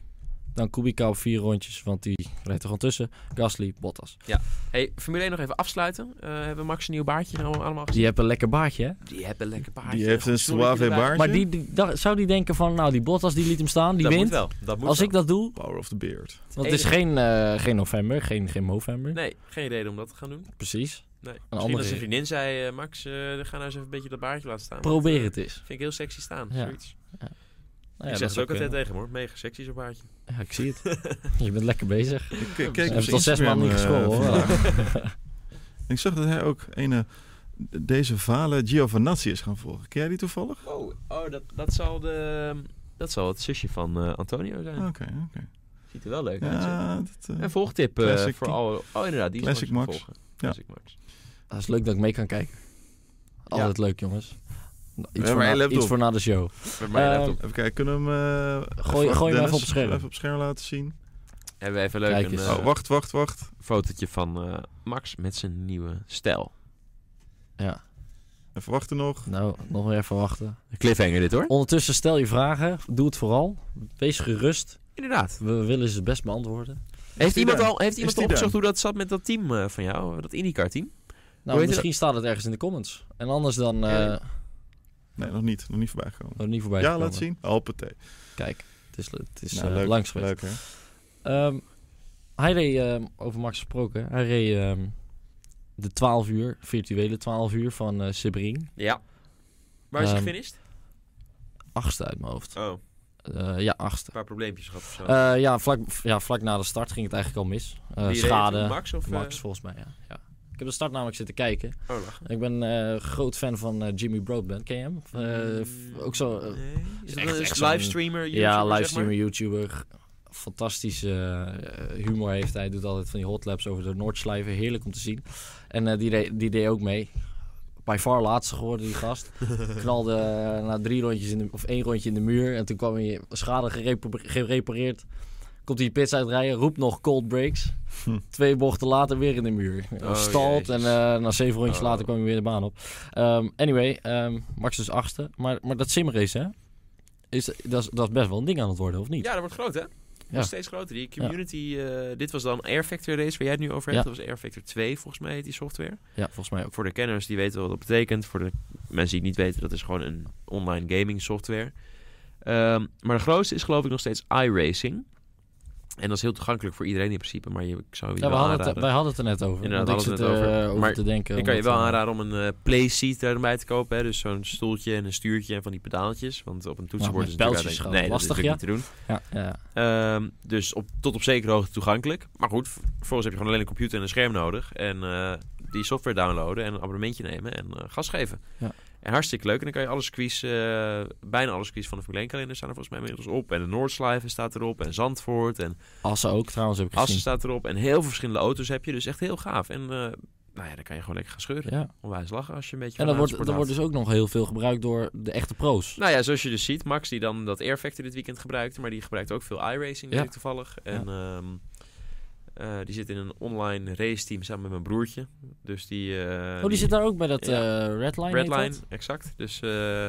Speaker 2: dan Kubica op vier rondjes, want die rijdt er gewoon tussen. Gasly, Bottas.
Speaker 1: Hey, Formule 1 nog even afsluiten. Eh, hebben we Max een nieuw baardje nou allemaal gezien?
Speaker 2: Die hebben een lekker baardje, hè?
Speaker 1: Die hebben lekker baardje.
Speaker 3: Die heeft een
Speaker 1: Sorry,
Speaker 3: suave
Speaker 1: inderdaad.
Speaker 3: baardje.
Speaker 2: Maar die, die- dacht- zou die denken van, nou die Bottas die liet hem staan, die
Speaker 1: dat
Speaker 2: wint.
Speaker 1: moet wel. Dat moet
Speaker 2: Als
Speaker 1: wel.
Speaker 2: ik dat doe,
Speaker 3: Power of the beard.
Speaker 2: want het is
Speaker 1: enige-
Speaker 2: geen, eh, geen november, geen, geen november.
Speaker 1: Nee, geen reden om dat te gaan doen.
Speaker 2: Precies.
Speaker 1: Nee. Misschien
Speaker 2: andere
Speaker 1: dat zijn
Speaker 2: reden.
Speaker 1: vriendin zei, eh, Max, eh, ga nou eens even een beetje dat baardje laten staan. Want,
Speaker 2: Probeer
Speaker 1: eh,
Speaker 2: het eens.
Speaker 1: Vind ik heel sexy staan,
Speaker 2: Ja.
Speaker 1: zoiets.
Speaker 2: Nou
Speaker 1: ik
Speaker 2: ja,
Speaker 1: zeg het
Speaker 2: dat zou
Speaker 1: ook altijd
Speaker 2: kunnen.
Speaker 1: tegen hem, hoor. Mega sexy zo'n baardje.
Speaker 2: Ja, ik zie het. Je bent lekker bezig.
Speaker 3: Ik eh,
Speaker 1: Hij
Speaker 3: keek op
Speaker 2: heeft
Speaker 3: zijn
Speaker 2: al zes
Speaker 3: Instagram,
Speaker 2: maanden niet
Speaker 3: eh,
Speaker 2: gescrollt, hoor.
Speaker 3: vandaag. En ik zag dat hij ook een, eh, deze vale Giovanazzi is gaan volgen. Ken jij die toevallig?
Speaker 1: Oh, oh dat, dat, zal de, dat zal het zusje van eh, Antonio zijn.
Speaker 3: Oké, oké.
Speaker 1: Ziet er wel leuk uit. zeg.
Speaker 3: Ja, dat, eh,
Speaker 1: Een volgtip eh,
Speaker 3: Classic
Speaker 1: voor
Speaker 3: die-
Speaker 1: alle... Oh, inderdaad, die is
Speaker 3: Classic
Speaker 1: Max.
Speaker 3: Max.
Speaker 1: te volgen.
Speaker 3: Ja.
Speaker 1: Classic Max.
Speaker 2: Dat Ah, is leuk dat ik mee kan kijken. Altijd leuk, jongens. Nou, Iets,
Speaker 3: maar
Speaker 2: voor,
Speaker 3: je
Speaker 2: na,
Speaker 3: lept
Speaker 2: iets
Speaker 3: op.
Speaker 2: voor na de show.
Speaker 1: Met mijn
Speaker 2: Ehm,
Speaker 1: laptop.
Speaker 3: Even kijken, kunnen we hem... eh,
Speaker 2: Gooi- gooi hem even op het scherm.
Speaker 3: Even op scherm laten zien.
Speaker 1: Hebben we even leuk
Speaker 2: kijk
Speaker 1: een
Speaker 2: eens.
Speaker 1: eh,
Speaker 3: Oh, wacht, wacht, wacht.
Speaker 1: fotootje van eh, Max met zijn nieuwe stijl.
Speaker 2: Ja.
Speaker 3: Even wachten nog.
Speaker 2: Nou, nog maar even wachten.
Speaker 1: Cliffhanger dit, hoor.
Speaker 2: Ondertussen stel je vragen. Doe het vooral. Wees gerust.
Speaker 1: Inderdaad.
Speaker 2: We willen ze het best beantwoorden.
Speaker 1: Heeft
Speaker 3: die
Speaker 1: iemand
Speaker 3: daar?
Speaker 1: al, heeft iemand
Speaker 3: die
Speaker 1: al opgezocht
Speaker 3: daar?
Speaker 1: hoe dat zat met dat team eh, van jou? Dat IndyCar-team? Hoe
Speaker 2: Nou,
Speaker 1: heet
Speaker 2: misschien staat het ergens in de comments. En anders dan eh
Speaker 1: Ja.
Speaker 3: Nee, nog niet. Nog niet voorbij gekomen.
Speaker 2: nog niet voorbij.
Speaker 3: Ja,
Speaker 2: gekomen.
Speaker 3: laat zien. Alpete.
Speaker 2: Kijk, het is, het is
Speaker 3: Nou,
Speaker 2: eh,
Speaker 3: leuk.
Speaker 2: langs geweest.
Speaker 3: Leuk, hè?
Speaker 2: eh, Ehm, hij reed, ehm, over Max gesproken, hij reed ehm, de 12 uur, virtuele 12 uur van eh Sebring.
Speaker 1: Ja. Waar is hij
Speaker 2: Ehm,
Speaker 1: gefinished?
Speaker 2: Achtste uit mijn hoofd.
Speaker 1: Oh, een
Speaker 2: Eh, ja, achtste.
Speaker 1: paar probleempjes gehad of zo.
Speaker 2: Eh, ja, vlak, ja, vlak na de start ging het eigenlijk al mis. Eh,
Speaker 1: Wie reed er toen,
Speaker 2: schade.
Speaker 1: Max of eh,
Speaker 2: Max, volgens mij, ja. ja. Ik heb de start namelijk zitten kijken.
Speaker 1: Oh, lachen.
Speaker 2: Ik ben eh, groot fan van eh, Jimmy Broadbent. Ken je hem? Eh,
Speaker 1: Mm.
Speaker 2: f- ook zo... eh,
Speaker 1: Nee. Is dat
Speaker 2: echt-
Speaker 1: een
Speaker 2: echt zo'n-
Speaker 1: livestreamer?
Speaker 2: ja,
Speaker 1: YouTuber, zeg maar?
Speaker 2: livestreamer, YouTuber. Fantastische eh, humor heeft hij. Doet altijd van die hotlaps over de Noordslijven. Heerlijk om te zien. En eh, die, deed- die deed ook mee. By far laatste geworden, die gast. Knalde eh, na drie rondjes in de, of één rondje in de muur. En toen kwam hij schade gerepa- gerepareerd. Komt hij pits uitrijden, roept nog cold breaks.
Speaker 3: Hm.
Speaker 2: Twee bochten later weer in de muur.
Speaker 1: Oh,
Speaker 2: Stalt en
Speaker 1: jezus.
Speaker 2: eh, na zeven rondjes
Speaker 1: Oh.
Speaker 2: later kwam hij weer de baan op. Ehm, anyway, ehm, Max is achtste. Maar, maar dat simrace, hè? Is, dat, is, dat is best wel een ding aan het worden, of niet?
Speaker 1: Ja, dat wordt groot, hè?
Speaker 2: Ja.
Speaker 1: Nog steeds groter. Die community... eh, dit was dan Air Factor Race, waar jij het nu over hebt. Dat was Air Factor 2, volgens mij, heet die software.
Speaker 2: Ja, volgens mij ook.
Speaker 1: Voor de kenners, die weten wat dat betekent. Voor de mensen die het niet weten, dat is gewoon een online gaming software. Ehm, maar de grootste is geloof ik nog steeds iRacing. En dat is heel toegankelijk voor iedereen in principe. Maar je, ik zou je
Speaker 2: Ja, we
Speaker 1: wel
Speaker 2: hadden
Speaker 1: aanraden.
Speaker 2: het, wij hadden het er net over.
Speaker 1: Inderdaad,
Speaker 2: want ik
Speaker 1: hadden
Speaker 2: zit
Speaker 1: we het net
Speaker 2: eh,
Speaker 1: over. Maar
Speaker 2: te denken.
Speaker 1: Ik kan je
Speaker 2: omdat,
Speaker 1: wel
Speaker 2: eh,
Speaker 1: aanraden om een eh, playseat erbij te kopen. Hè? Dus zo'n stoeltje en een stuurtje en van die pedaaltjes. Want op een toetsenbord
Speaker 2: met
Speaker 1: is het
Speaker 2: pijltjes
Speaker 1: natuurlijk
Speaker 2: gewoon
Speaker 1: uiteindelijk-
Speaker 2: lastig,
Speaker 1: nee, dat is natuurlijk niet te doen.
Speaker 2: Ja, ja.
Speaker 1: Ehm, dus op, tot op zekere hoogte toegankelijk. Maar goed, v- vervolgens heb je gewoon alleen een computer en een scherm nodig. En eh, die software downloaden en een abonnementje nemen en eh, gas geven.
Speaker 2: Ja.
Speaker 1: En hartstikke leuk. En dan kan je alle circuits, eh, bijna alle circuits van de Formule 1 kalender staan er volgens mij inmiddels op. En de Noordslijven staat erop. En Zandvoort. En
Speaker 2: Assen ook trouwens, heb ik
Speaker 1: Assen
Speaker 2: gezien.
Speaker 1: staat erop. En heel veel verschillende auto's heb je. Dus echt heel gaaf. En eh, nou ja, dan kan je gewoon lekker gaan scheuren.
Speaker 2: Ja.
Speaker 1: Onwijs lachen als je een beetje
Speaker 2: En
Speaker 1: van
Speaker 2: dat wordt,
Speaker 1: autosport
Speaker 2: dat wordt
Speaker 1: houdt.
Speaker 2: dus ook nog heel veel gebruikt door de echte pro's.
Speaker 1: Nou ja, zoals je dus ziet, Max die dan dat Air Factor dit weekend gebruikte, maar die gebruikt ook veel iRacing
Speaker 2: Ja.
Speaker 1: weet ik toevallig. En ehm, eh, die zit in een online race team samen met mijn broertje. Dus die. eh,
Speaker 2: oh, die zit daar ook bij dat
Speaker 1: ja.
Speaker 2: eh, Redline. heet
Speaker 1: Redline,
Speaker 2: dat?
Speaker 1: exact. Dus, eh,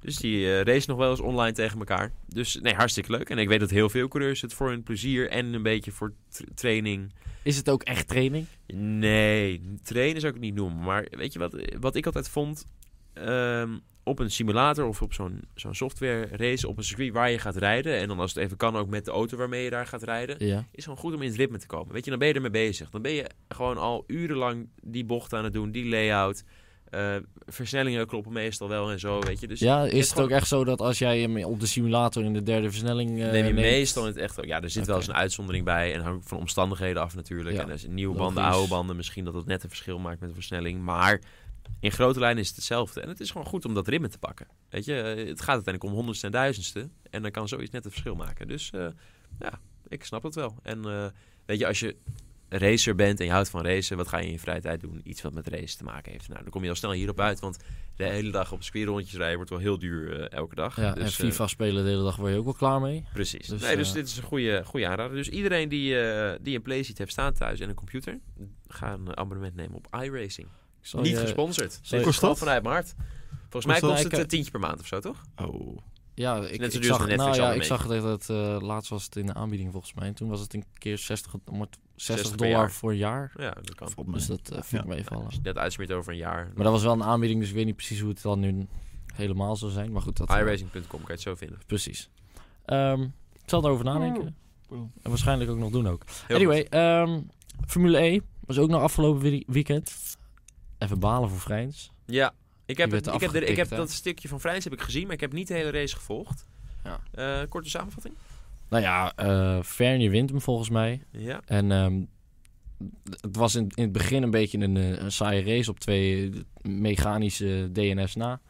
Speaker 1: dus die eh, race nog wel eens online tegen elkaar. Dus nee, hartstikke leuk. En ik weet dat heel veel coureurs het voor hun plezier en een beetje voor tra- training.
Speaker 2: Is het ook echt training?
Speaker 1: Nee, trainen zou ik het niet noemen. Maar weet je wat, wat ik altijd vond? Ehm, op een simulator of op zo'n zo'n software race op een circuit waar je gaat rijden. En dan als het even kan ook met de auto waarmee je daar gaat rijden.
Speaker 2: Ja.
Speaker 1: Is gewoon goed om in het ritme te komen. Weet je, dan ben je ermee bezig. Dan ben je gewoon al urenlang die bocht aan het doen, die layout. Eh, versnellingen kloppen meestal wel en zo, weet je. Dus
Speaker 2: ja,
Speaker 1: hebt
Speaker 2: is het ook
Speaker 1: gewoon-
Speaker 2: echt zo dat als jij hem op de simulator in de derde versnelling eh,
Speaker 1: neem je
Speaker 2: neemt-
Speaker 1: meestal in het echt ook. Ja, er zit wel eens
Speaker 2: Oké.
Speaker 1: een uitzondering bij. En hangt ook van omstandigheden af natuurlijk.
Speaker 2: Ja,
Speaker 1: En er zijn nieuwe
Speaker 2: logisch.
Speaker 1: banden, oude banden. Misschien dat dat net een verschil maakt met de versnelling. Maar in grote lijnen is het hetzelfde. En het is gewoon goed om dat ritme te pakken. Weet je, eh, het gaat uiteindelijk om honderdste en duizendste. En dan kan zoiets net het verschil maken. Dus eh, ja, ik snap dat wel. En eh, weet je, als je racer bent en je houdt van racen, wat ga je in je vrije tijd doen? Iets wat met race te maken heeft. Nou, dan kom je al snel hierop uit. Want de hele dag op squirrondjes rijden wordt wel heel duur eh, elke dag.
Speaker 2: Ja,
Speaker 1: Dus,
Speaker 2: en
Speaker 1: eh,
Speaker 2: FIFA spelen de hele dag word je ook wel klaar mee.
Speaker 1: Precies.
Speaker 2: Dus,
Speaker 1: nee, dus
Speaker 2: eh,
Speaker 1: dit is een goede, goede aanrader. Dus iedereen die, eh, die een PlayStation heeft staan thuis en een computer, ga een abonnement nemen op iRacing.
Speaker 2: Ik zal
Speaker 1: Niet
Speaker 2: je-
Speaker 1: gesponsord.
Speaker 2: zal
Speaker 1: Dit
Speaker 2: je-
Speaker 1: is gewoon vanuit mijn hart. Volgens mij
Speaker 3: Kost dat?
Speaker 1: kost het
Speaker 2: Ik,
Speaker 1: een
Speaker 2: eh,
Speaker 1: tientje per maand of zo, toch?
Speaker 3: Oh,
Speaker 2: Ja, ik,
Speaker 1: net zo
Speaker 2: ik
Speaker 1: duur als
Speaker 2: zag,
Speaker 1: een
Speaker 2: nou, ja, ik
Speaker 1: Netflix-abonnement.
Speaker 2: zag dat het eh, laatst was het in de aanbieding volgens mij. En toen was het een keer 60, om het- 60,
Speaker 1: 60 per
Speaker 2: dollar
Speaker 1: jaar.
Speaker 2: voor een jaar.
Speaker 1: Ja, dat kan.
Speaker 3: valt mee.
Speaker 2: Dus dat eh, vind ik meevallen.
Speaker 1: Als je het net uitsmeert over een jaar.
Speaker 2: Maar dat was wel een aanbieding, dus ik weet niet precies hoe het dan nu helemaal zou zijn. Maar goed, dat... eh,
Speaker 1: iRacing.com kan je het zo vinden.
Speaker 2: Precies. Ehm, ik zal erover nadenken.
Speaker 3: Pardon.
Speaker 2: En waarschijnlijk ook nog doen ook.
Speaker 1: Heel
Speaker 2: anyway,
Speaker 1: goed.
Speaker 2: ehm, Formule E was ook nog afgelopen wie- weekend. Even balen voor Vrijns.
Speaker 1: Ja, ik
Speaker 2: Die
Speaker 1: heb,
Speaker 2: werd
Speaker 1: het, ik heb, de- ik heb
Speaker 2: afgetikt, hè?
Speaker 1: dat stukje van Vrijs heb ik gezien, maar ik heb niet de hele race gevolgd.
Speaker 2: Ja.
Speaker 1: Eh, korte samenvatting?
Speaker 2: Nou ja, eh Verne wint hem volgens mij.
Speaker 1: Ja.
Speaker 2: En ehm, het was in, in het begin een beetje een, eh, een saaie race op twee eh, mechanische DNS na.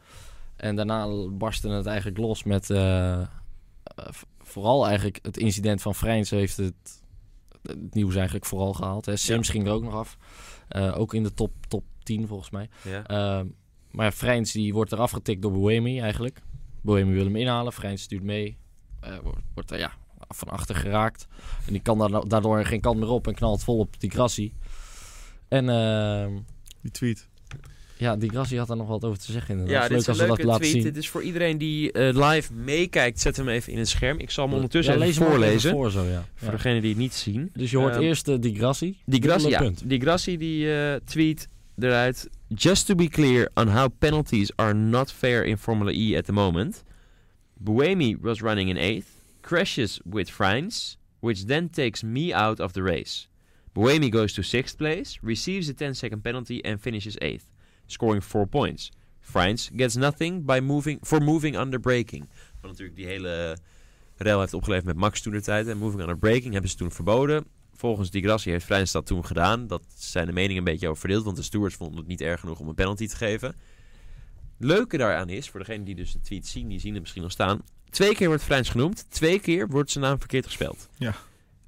Speaker 2: En daarna barstte het eigenlijk los met eh, eh, v- vooral eigenlijk het incident van Vrijns heeft het, het nieuws eigenlijk vooral gehaald. Hè. Sims ging er ook nog af. Eh, ook in de top, top 10 volgens mij.
Speaker 1: ja.
Speaker 2: Ehm, maar ja, Vrijns die wordt eraf getikt door Boemi eigenlijk. Boemi wil hem inhalen, Vrijns stuurt mee. Eh, wordt- wordt er ja, van achter geraakt. En die kan daar- daardoor geen kant meer op en knalt vol op die Grassi. En ehm,
Speaker 3: die tweet.
Speaker 2: ja, die Grassi had daar nog wat over te zeggen. Inderdaad.
Speaker 1: Ja,
Speaker 2: Het
Speaker 1: dit
Speaker 2: is
Speaker 1: is
Speaker 2: leuk
Speaker 1: een
Speaker 2: als we dat
Speaker 1: leuke
Speaker 2: laten
Speaker 1: tweet.
Speaker 2: zien.
Speaker 1: Dit is voor iedereen die eh, live meekijkt, zet hem even in het scherm. Ik zal hem ondertussen
Speaker 2: Ja,
Speaker 1: even
Speaker 2: lees hem ook even
Speaker 1: voorlezen.
Speaker 2: voor zo, ja.
Speaker 1: Voor
Speaker 2: Ja.
Speaker 1: degenen die het niet zien.
Speaker 2: Dus je hoort
Speaker 1: Ehm,
Speaker 2: eerst eh, die Grassi.
Speaker 1: Die Grassi,
Speaker 2: Dubbele
Speaker 1: ja,
Speaker 2: punt.
Speaker 1: die, Grassi die eh, tweet eruit. Just to be clear on how penalties are not fair in Formula E at the moment. Buemi was running in eighth, crashes with Frines, which then takes me out of the race. Buemi goes to sixth place, receives a 10-second penalty and finishes eighth, scoring four points. Friends gets nothing by moving, for moving under breaking. Wat natuurlijk die hele rel heeft opgeleverd met Max toen de tijd. En moving under breaking hebben ze toen verboden. Volgens Di Grassi heeft Friends dat toen gedaan. Dat zijn de meningen een beetje over verdeeld, want de stewards vonden het niet erg genoeg om een penalty te geven. Leuke daaraan is, voor degenen die dus de tweet zien, die zien het misschien nog staan. Twee keer wordt Friends genoemd, twee keer wordt zijn naam verkeerd gespeld.
Speaker 3: Ja.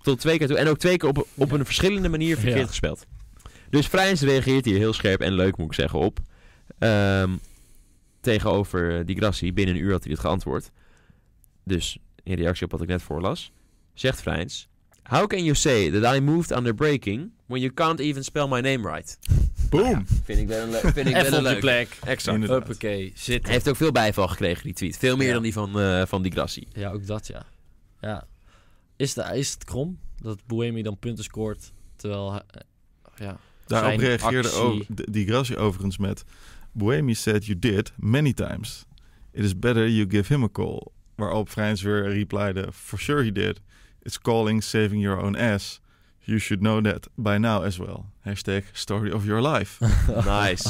Speaker 1: Tot twee keer toe. En ook twee keer op, op een verschillende manier verkeerd
Speaker 2: Ja.
Speaker 1: gespeld. Dus Friends reageert hier heel scherp en leuk, moet ik zeggen, op. Ehm, tegenover eh, Di Grassi. Binnen een uur had hij dit geantwoord. Dus in reactie op wat ik net voorlas, zegt Vrijns... How can you say that I moved under breaking when you can't even spell my name right?
Speaker 2: Nou
Speaker 3: Boom!
Speaker 1: Vind ik wel een, leuk. vind ik wel
Speaker 2: Even
Speaker 1: een
Speaker 2: op je
Speaker 1: leuke.
Speaker 2: plek.
Speaker 1: Exact.
Speaker 3: Inderdaad.
Speaker 2: Huppakee,
Speaker 1: Hij
Speaker 2: zitten.
Speaker 1: heeft ook veel bijval gekregen, die tweet. Veel meer
Speaker 2: Ja.
Speaker 1: dan die van, eh van Di Grassi.
Speaker 2: Ja, ook dat ja. ja. Is, de, is het krom dat Boemi dan punten scoort terwijl... hij- eh, Ja,
Speaker 3: Daarop
Speaker 2: zijn
Speaker 3: reageerde
Speaker 2: actie-
Speaker 3: ook D- Di Grassi overigens met... Buemi said you did many times. It is better you give him a call. Waarop Vrijns weer repliede... For sure he did. It's calling saving your own ass. You should know that by now as well. Hashtag story of your life.
Speaker 1: Nice.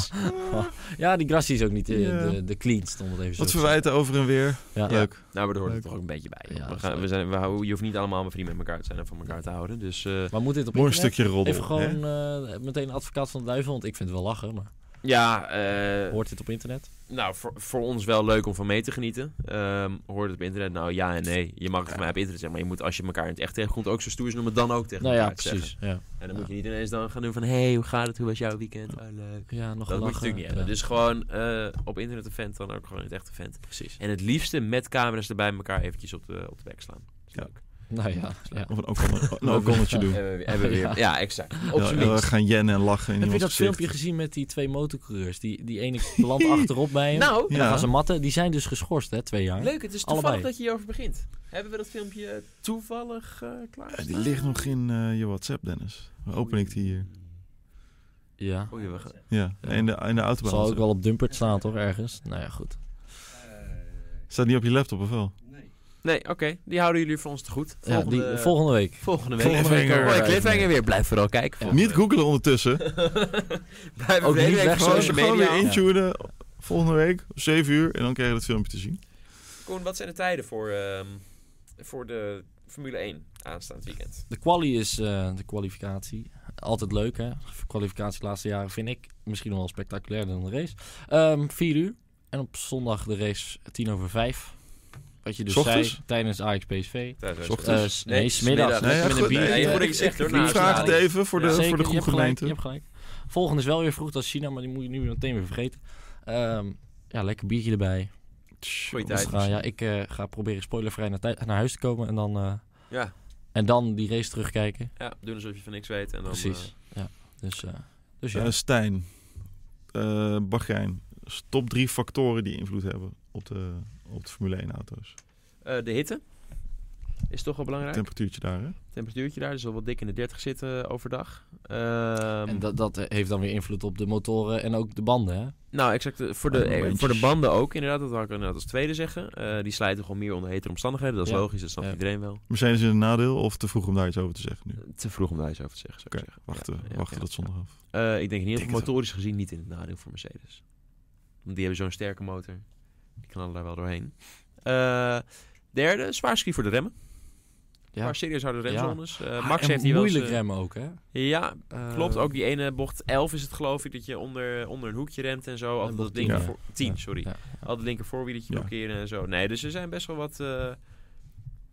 Speaker 2: Ja, die Grassi is ook niet de,
Speaker 3: Ja.
Speaker 2: de, de cleanst, om het even zo
Speaker 3: Wat
Speaker 2: te zeggen.
Speaker 3: verwijten over en weer.
Speaker 2: Ja.
Speaker 3: Leuk.
Speaker 1: Nou, we hoort
Speaker 3: Leuk.
Speaker 1: het toch ook een beetje bij.
Speaker 2: Ja,
Speaker 1: we
Speaker 2: dat is
Speaker 1: gaan, we
Speaker 2: leuk.
Speaker 1: zijn, we houden, je hoeft niet allemaal mijn vrienden met elkaar te zijn en van elkaar te houden. Dus eh,
Speaker 2: Maar moet dit op
Speaker 3: Mooi
Speaker 2: internet?
Speaker 3: stukje roddel.
Speaker 2: Even
Speaker 3: hè?
Speaker 2: gewoon eh, meteen advocaat van de duivel, want ik vind het wel lachen, maar
Speaker 1: ja, eh,
Speaker 2: hoort dit op internet?
Speaker 1: nou, voor, voor ons wel leuk om van mee te genieten. Ehm, hoort het op internet? Nou, ja en nee. Je mag het voor mij op internet zeggen, maar je moet als je elkaar in het echt tegenkomt ook zo stoer zijn om het dan ook tegen
Speaker 2: Nou
Speaker 1: elkaar
Speaker 2: ja,
Speaker 1: te zeggen.
Speaker 2: precies. Ja.
Speaker 1: En dan moet je niet ineens dan gaan doen van, hey, hoe gaat het? Hoe was jouw weekend? Oh, leuk.
Speaker 2: ja, nog
Speaker 1: Dat moet je
Speaker 2: lachen.
Speaker 1: natuurlijk niet hebben.
Speaker 2: ja.
Speaker 1: Dus gewoon eh, op internet een vent, dan ook gewoon in het echte vent.
Speaker 2: Precies.
Speaker 1: En het liefste met camera's erbij elkaar eventjes op de, op de bek slaan. Dat is
Speaker 3: Ja.
Speaker 1: leuk.
Speaker 2: Nou ja, ja.
Speaker 3: Of een ookon- een ookonnetje doen.
Speaker 1: Hebben we, hebben we weer.
Speaker 2: Ja.
Speaker 1: Ja, exact. Op
Speaker 3: Ja,
Speaker 1: zijn
Speaker 3: heel erg
Speaker 1: minst.
Speaker 3: gaan jennen en lachen in
Speaker 2: Heb je
Speaker 3: iemands
Speaker 2: dat
Speaker 3: gezicht.
Speaker 2: filmpje gezien met die twee motorcoureurs? Die, die ene belandt achterop bij hem.
Speaker 1: Nou,
Speaker 2: En dan
Speaker 3: Ja.
Speaker 2: gaan ze matten. Die zijn dus geschorst, hè, twee jaar.
Speaker 1: Leuk, het is toevallig
Speaker 2: Allebei.
Speaker 1: dat je hierover begint. Hebben we dat filmpje eh, toevallig eh klaar?
Speaker 3: Ja, die ligt nog in eh, je WhatsApp, Dennis. Waar open ik die hier?
Speaker 2: Ja.
Speaker 1: Oei, Oh, we gaan...
Speaker 3: Ja,
Speaker 2: Ja.
Speaker 3: in de, in de autobahn.
Speaker 2: Zal ook wel op Dumpert staan, toch, ergens? Nou ja, goed.
Speaker 3: Staat niet op je laptop of wel?
Speaker 1: Nee, oké. Die houden jullie voor ons te goed.
Speaker 2: Ja,
Speaker 1: Volgende,
Speaker 2: die, volgende week.
Speaker 1: volgende week.
Speaker 3: Volgende week
Speaker 1: Cliffhanger.
Speaker 3: ook
Speaker 1: Mooi,
Speaker 2: weer.
Speaker 1: cliffhanger weer. Blijf vooral kijken.
Speaker 2: Ja.
Speaker 1: volgende
Speaker 3: Niet googelen ondertussen.
Speaker 1: week. Blijf
Speaker 2: Ook
Speaker 1: de hele
Speaker 2: niet
Speaker 1: week
Speaker 2: weg,
Speaker 1: op social
Speaker 2: zo.
Speaker 3: Gewoon
Speaker 1: media.
Speaker 3: weer
Speaker 2: in.
Speaker 3: intunen. Volgende week, 7 uur. En dan krijg je dat filmpje te zien.
Speaker 1: Koen, wat zijn de tijden voor, ehm, voor de Formule 1 aanstaand weekend?
Speaker 2: De quali is eh, de kwalificatie. Altijd leuk, hè? Kwalificatie de laatste jaren vind ik misschien nog wel spectaculairder dan de race. Ehm, vier uur. En op zondag de race tien over vijf. Wat je dus
Speaker 3: S ochtends?
Speaker 2: zei tijdens AXPSV.
Speaker 1: Thuis,
Speaker 3: Ochtends.
Speaker 2: Eh, s- nee, smiddags.
Speaker 3: Nee, ja,
Speaker 1: Met een
Speaker 3: goed,
Speaker 1: bier.
Speaker 3: nee,
Speaker 1: Ja,
Speaker 3: ja,
Speaker 1: goed dat je
Speaker 3: ik-
Speaker 1: zegt, hoor,
Speaker 2: ik-
Speaker 1: na
Speaker 3: Ik
Speaker 2: Nou,
Speaker 3: vraag het
Speaker 1: aansluiting.
Speaker 3: even voor de,
Speaker 2: Ja,
Speaker 3: voor de
Speaker 2: zeker. je
Speaker 3: goede
Speaker 2: hebt gelijk, je
Speaker 3: gemeente.
Speaker 2: hebt gelijk. Volgende is wel weer vroeg, dat is China, maar die moet je nu meteen weer vergeten. Ehm, ja, lekker biertje erbij.
Speaker 1: Goeie
Speaker 2: Dus
Speaker 1: tijd.
Speaker 2: ga- ja, ik eh, ga proberen spoilervrij naar, tij- naar huis te komen en dan, eh,
Speaker 1: Ja,
Speaker 2: en dan die race terugkijken.
Speaker 1: ja, doen alsof je van niks weet. En dan,
Speaker 2: Precies.
Speaker 1: eh,
Speaker 2: ja. Dus, eh, dus ja.
Speaker 3: Eh, Stijn, eh Bahrein. Top drie factoren die invloed hebben op de, op de Formule 1 auto's.
Speaker 1: eh, de hitte is toch wel belangrijk.
Speaker 3: Temperatuurtje daar, hè?
Speaker 1: Temperatuurtje daar, dus wel wat dik in de 30 zitten overdag.
Speaker 2: en
Speaker 1: Ehm
Speaker 2: dat, dat eh, heeft dan weer invloed op de motoren en ook de banden, hè?
Speaker 1: Nou, exact. eh, Voor
Speaker 3: Oh,
Speaker 1: de,
Speaker 3: de
Speaker 1: eh,
Speaker 3: bandjes.
Speaker 1: voor de banden ook, inderdaad. Dat wou ik inderdaad als tweede zeggen. Eh, die slijten gewoon meer onder hetere omstandigheden. Dat is
Speaker 2: Ja.
Speaker 1: logisch, dat snapt
Speaker 2: Ja.
Speaker 1: iedereen wel.
Speaker 3: Mercedes in een nadeel of te vroeg om daar iets over te zeggen
Speaker 2: Eh,
Speaker 3: nu?
Speaker 1: Te vroeg om daar iets over te zeggen, zou ik
Speaker 3: Oké,
Speaker 1: zeggen.
Speaker 3: wachten,
Speaker 1: Ja, ja,
Speaker 3: wachten
Speaker 1: ja,
Speaker 3: dat zondag af.
Speaker 1: Eh, ik denk in ieder
Speaker 3: Denk
Speaker 1: geval
Speaker 3: het wel.
Speaker 1: motorisch gezien niet in het nadeel voor Mercedes. Want die hebben zo'n sterke motor. Die knallen daar wel doorheen. Eh, derde, zwaar ski voor de remmen.
Speaker 2: Ja.
Speaker 1: Maar serieus harde
Speaker 2: Ja.
Speaker 1: remzones. Eh,
Speaker 2: Ah,
Speaker 1: Max
Speaker 2: en
Speaker 1: heeft hier wel eens,
Speaker 2: moeilijk
Speaker 1: eh,
Speaker 2: remmen ook, hè?
Speaker 1: Ja,
Speaker 2: Eh,
Speaker 1: klopt. Ook die ene bocht 11 is het geloof ik. Dat je onder, onder een hoekje remt en zo. Altijd
Speaker 2: bocht
Speaker 1: dat
Speaker 2: 10,
Speaker 1: linker
Speaker 3: ja.
Speaker 1: voor, 10,
Speaker 2: Ja.
Speaker 1: sorry.
Speaker 2: Ja.
Speaker 1: Al het linker voorwieletje
Speaker 3: Ja.
Speaker 1: blokkeren en zo. Nee, dus er zijn best wel wat, eh,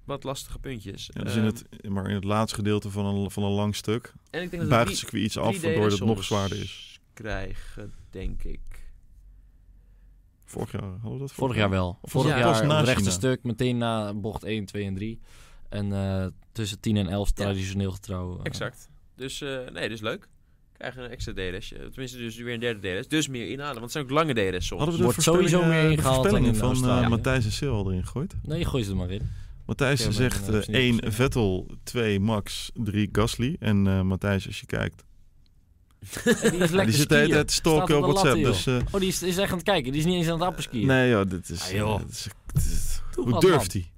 Speaker 1: wat lastige puntjes.
Speaker 3: Ja,
Speaker 2: Eh,
Speaker 3: dus in
Speaker 1: Ehm,
Speaker 3: het, maar in het laatste gedeelte van een, van een lang stuk
Speaker 1: en ik denk dat
Speaker 3: buigt
Speaker 1: het
Speaker 3: het
Speaker 1: drie,
Speaker 3: circuit iets
Speaker 1: drie
Speaker 3: af,
Speaker 1: delen
Speaker 3: waardoor het nog
Speaker 1: soms
Speaker 3: zwaarder is.
Speaker 1: krijgen, denk ik.
Speaker 3: Vorig jaar hadden we dat
Speaker 2: Vorig jaar wel. Vorig
Speaker 1: Ja.
Speaker 3: Pas
Speaker 2: jaar
Speaker 3: na
Speaker 2: het rechte
Speaker 3: China.
Speaker 2: stuk, meteen na bocht 1, 2 en 3. En eh, tussen 10 en 11
Speaker 1: Ja.
Speaker 2: traditioneel getrouw. eh.
Speaker 1: Exact. Dus eh, nee, dus leuk. Krijgen een extra DRS. Tenminste, dus weer een derde DRS. Dus meer inhalen. Want het zijn ook lange DRS soms.
Speaker 3: Hadden we de
Speaker 2: Wordt
Speaker 3: voorspellingen-
Speaker 2: sowieso meer
Speaker 3: de
Speaker 2: ingehaald dan
Speaker 3: voorspellingen
Speaker 2: in
Speaker 3: van eh,
Speaker 2: Australië.
Speaker 3: Matthijs en Sil al erin gegooid?
Speaker 2: Nee, gooi ze er maar in.
Speaker 3: Matthijs
Speaker 2: Oké, maar dan
Speaker 3: zegt
Speaker 2: hebben ze niet
Speaker 3: 1
Speaker 2: gezien.
Speaker 3: Vettel, 2 Max, 3 Gasly. En eh, Matthijs, als je kijkt,
Speaker 2: En die is
Speaker 3: die
Speaker 2: lekker
Speaker 3: zit de hele
Speaker 2: skiën.
Speaker 3: tijd te stalken
Speaker 2: Staat
Speaker 3: op
Speaker 2: op de
Speaker 3: WhatsApp.
Speaker 2: lat,
Speaker 3: dus, eh,
Speaker 2: Oh, die is, is echt aan het kijken. Die is niet eens aan het apperskiën.
Speaker 3: nee joh, dit is...
Speaker 2: Ah, joh.
Speaker 3: eh, dit is- dit is-
Speaker 2: Doe
Speaker 3: hoe
Speaker 2: wat,
Speaker 3: durft hij?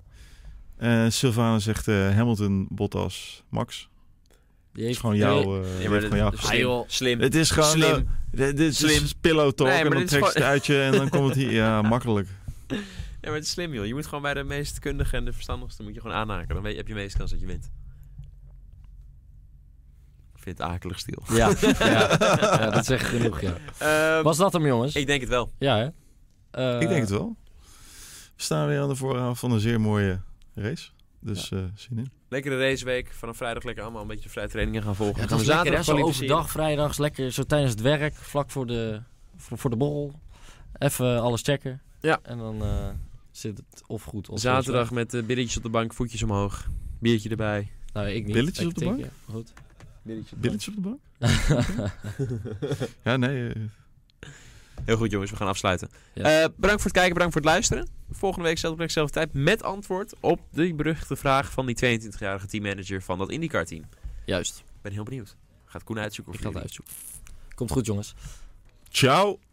Speaker 3: Eh Sylvana zegt eh, Hamilton, Bottas, Max.
Speaker 2: Die
Speaker 3: Het is
Speaker 2: heeft
Speaker 3: gewoon jouw... eh, die
Speaker 1: maar
Speaker 3: heeft
Speaker 1: dit-
Speaker 3: gewoon jouw
Speaker 1: slim,
Speaker 2: joh.
Speaker 1: slim.
Speaker 3: Het is gewoon...
Speaker 1: Slim.
Speaker 2: eh,
Speaker 3: Slim. dit is
Speaker 1: Slim.
Speaker 3: pillow talk
Speaker 1: Nee, maar
Speaker 3: en dan
Speaker 1: dit is
Speaker 3: trek je het
Speaker 1: gewoon-
Speaker 3: uit je en dan komt het hier. Ja, makkelijk.
Speaker 1: Ja, maar het is slim, joh. Je moet gewoon bij de meest kundige en de verstandigste moet je gewoon aanhaken. Dan weet, heb je meest kans dat je wint. Ik vind het akelig stil.
Speaker 2: Ja, ja. ja, dat zegt genoeg, ja.
Speaker 1: Ehm,
Speaker 2: Was dat hem, jongens?
Speaker 1: ik denk het wel.
Speaker 2: Ja, hè? Eh,
Speaker 3: Ik denk het wel. We staan weer aan de vooravond van een zeer mooie race. Dus eh zin in.
Speaker 1: Lekkere raceweek. Vanaf vrijdag lekker allemaal een beetje vrije trainingen gaan volgen.
Speaker 2: Ja,
Speaker 1: gaan
Speaker 2: dat is lekker, hè? Zo
Speaker 1: kwalificeren.
Speaker 2: overdag, vrijdags, lekker zo tijdens het werk, vlak voor de, voor, voor de borrel. Even alles checken.
Speaker 1: Ja.
Speaker 2: En dan eh, zit het of goed of
Speaker 1: Zaterdag met eh, billetjes op de bank, voetjes omhoog. Biertje erbij.
Speaker 2: slecht. Nou, ik niet.
Speaker 3: Billetjes
Speaker 2: Ik
Speaker 3: op de
Speaker 2: tik,
Speaker 3: bank?
Speaker 2: ja. Goed.
Speaker 3: Billetjes op de bank? ja, nee. eh,
Speaker 1: Heel goed, jongens. We gaan afsluiten.
Speaker 2: Ja.
Speaker 1: Eh, bedankt voor het kijken. Bedankt voor het luisteren. Volgende week zelfde plek, zelfde tijd. Met antwoord op die beruchte vraag van die 22-jarige teammanager van dat IndyCar-team.
Speaker 2: Juist.
Speaker 1: Ik ben heel benieuwd. Gaat Koen uitzoeken?
Speaker 2: Ik
Speaker 1: of
Speaker 2: ga het
Speaker 1: jullie-
Speaker 2: uitzoeken. Komt goed, jongens.
Speaker 3: ciao.
Speaker 1: Eh, eh,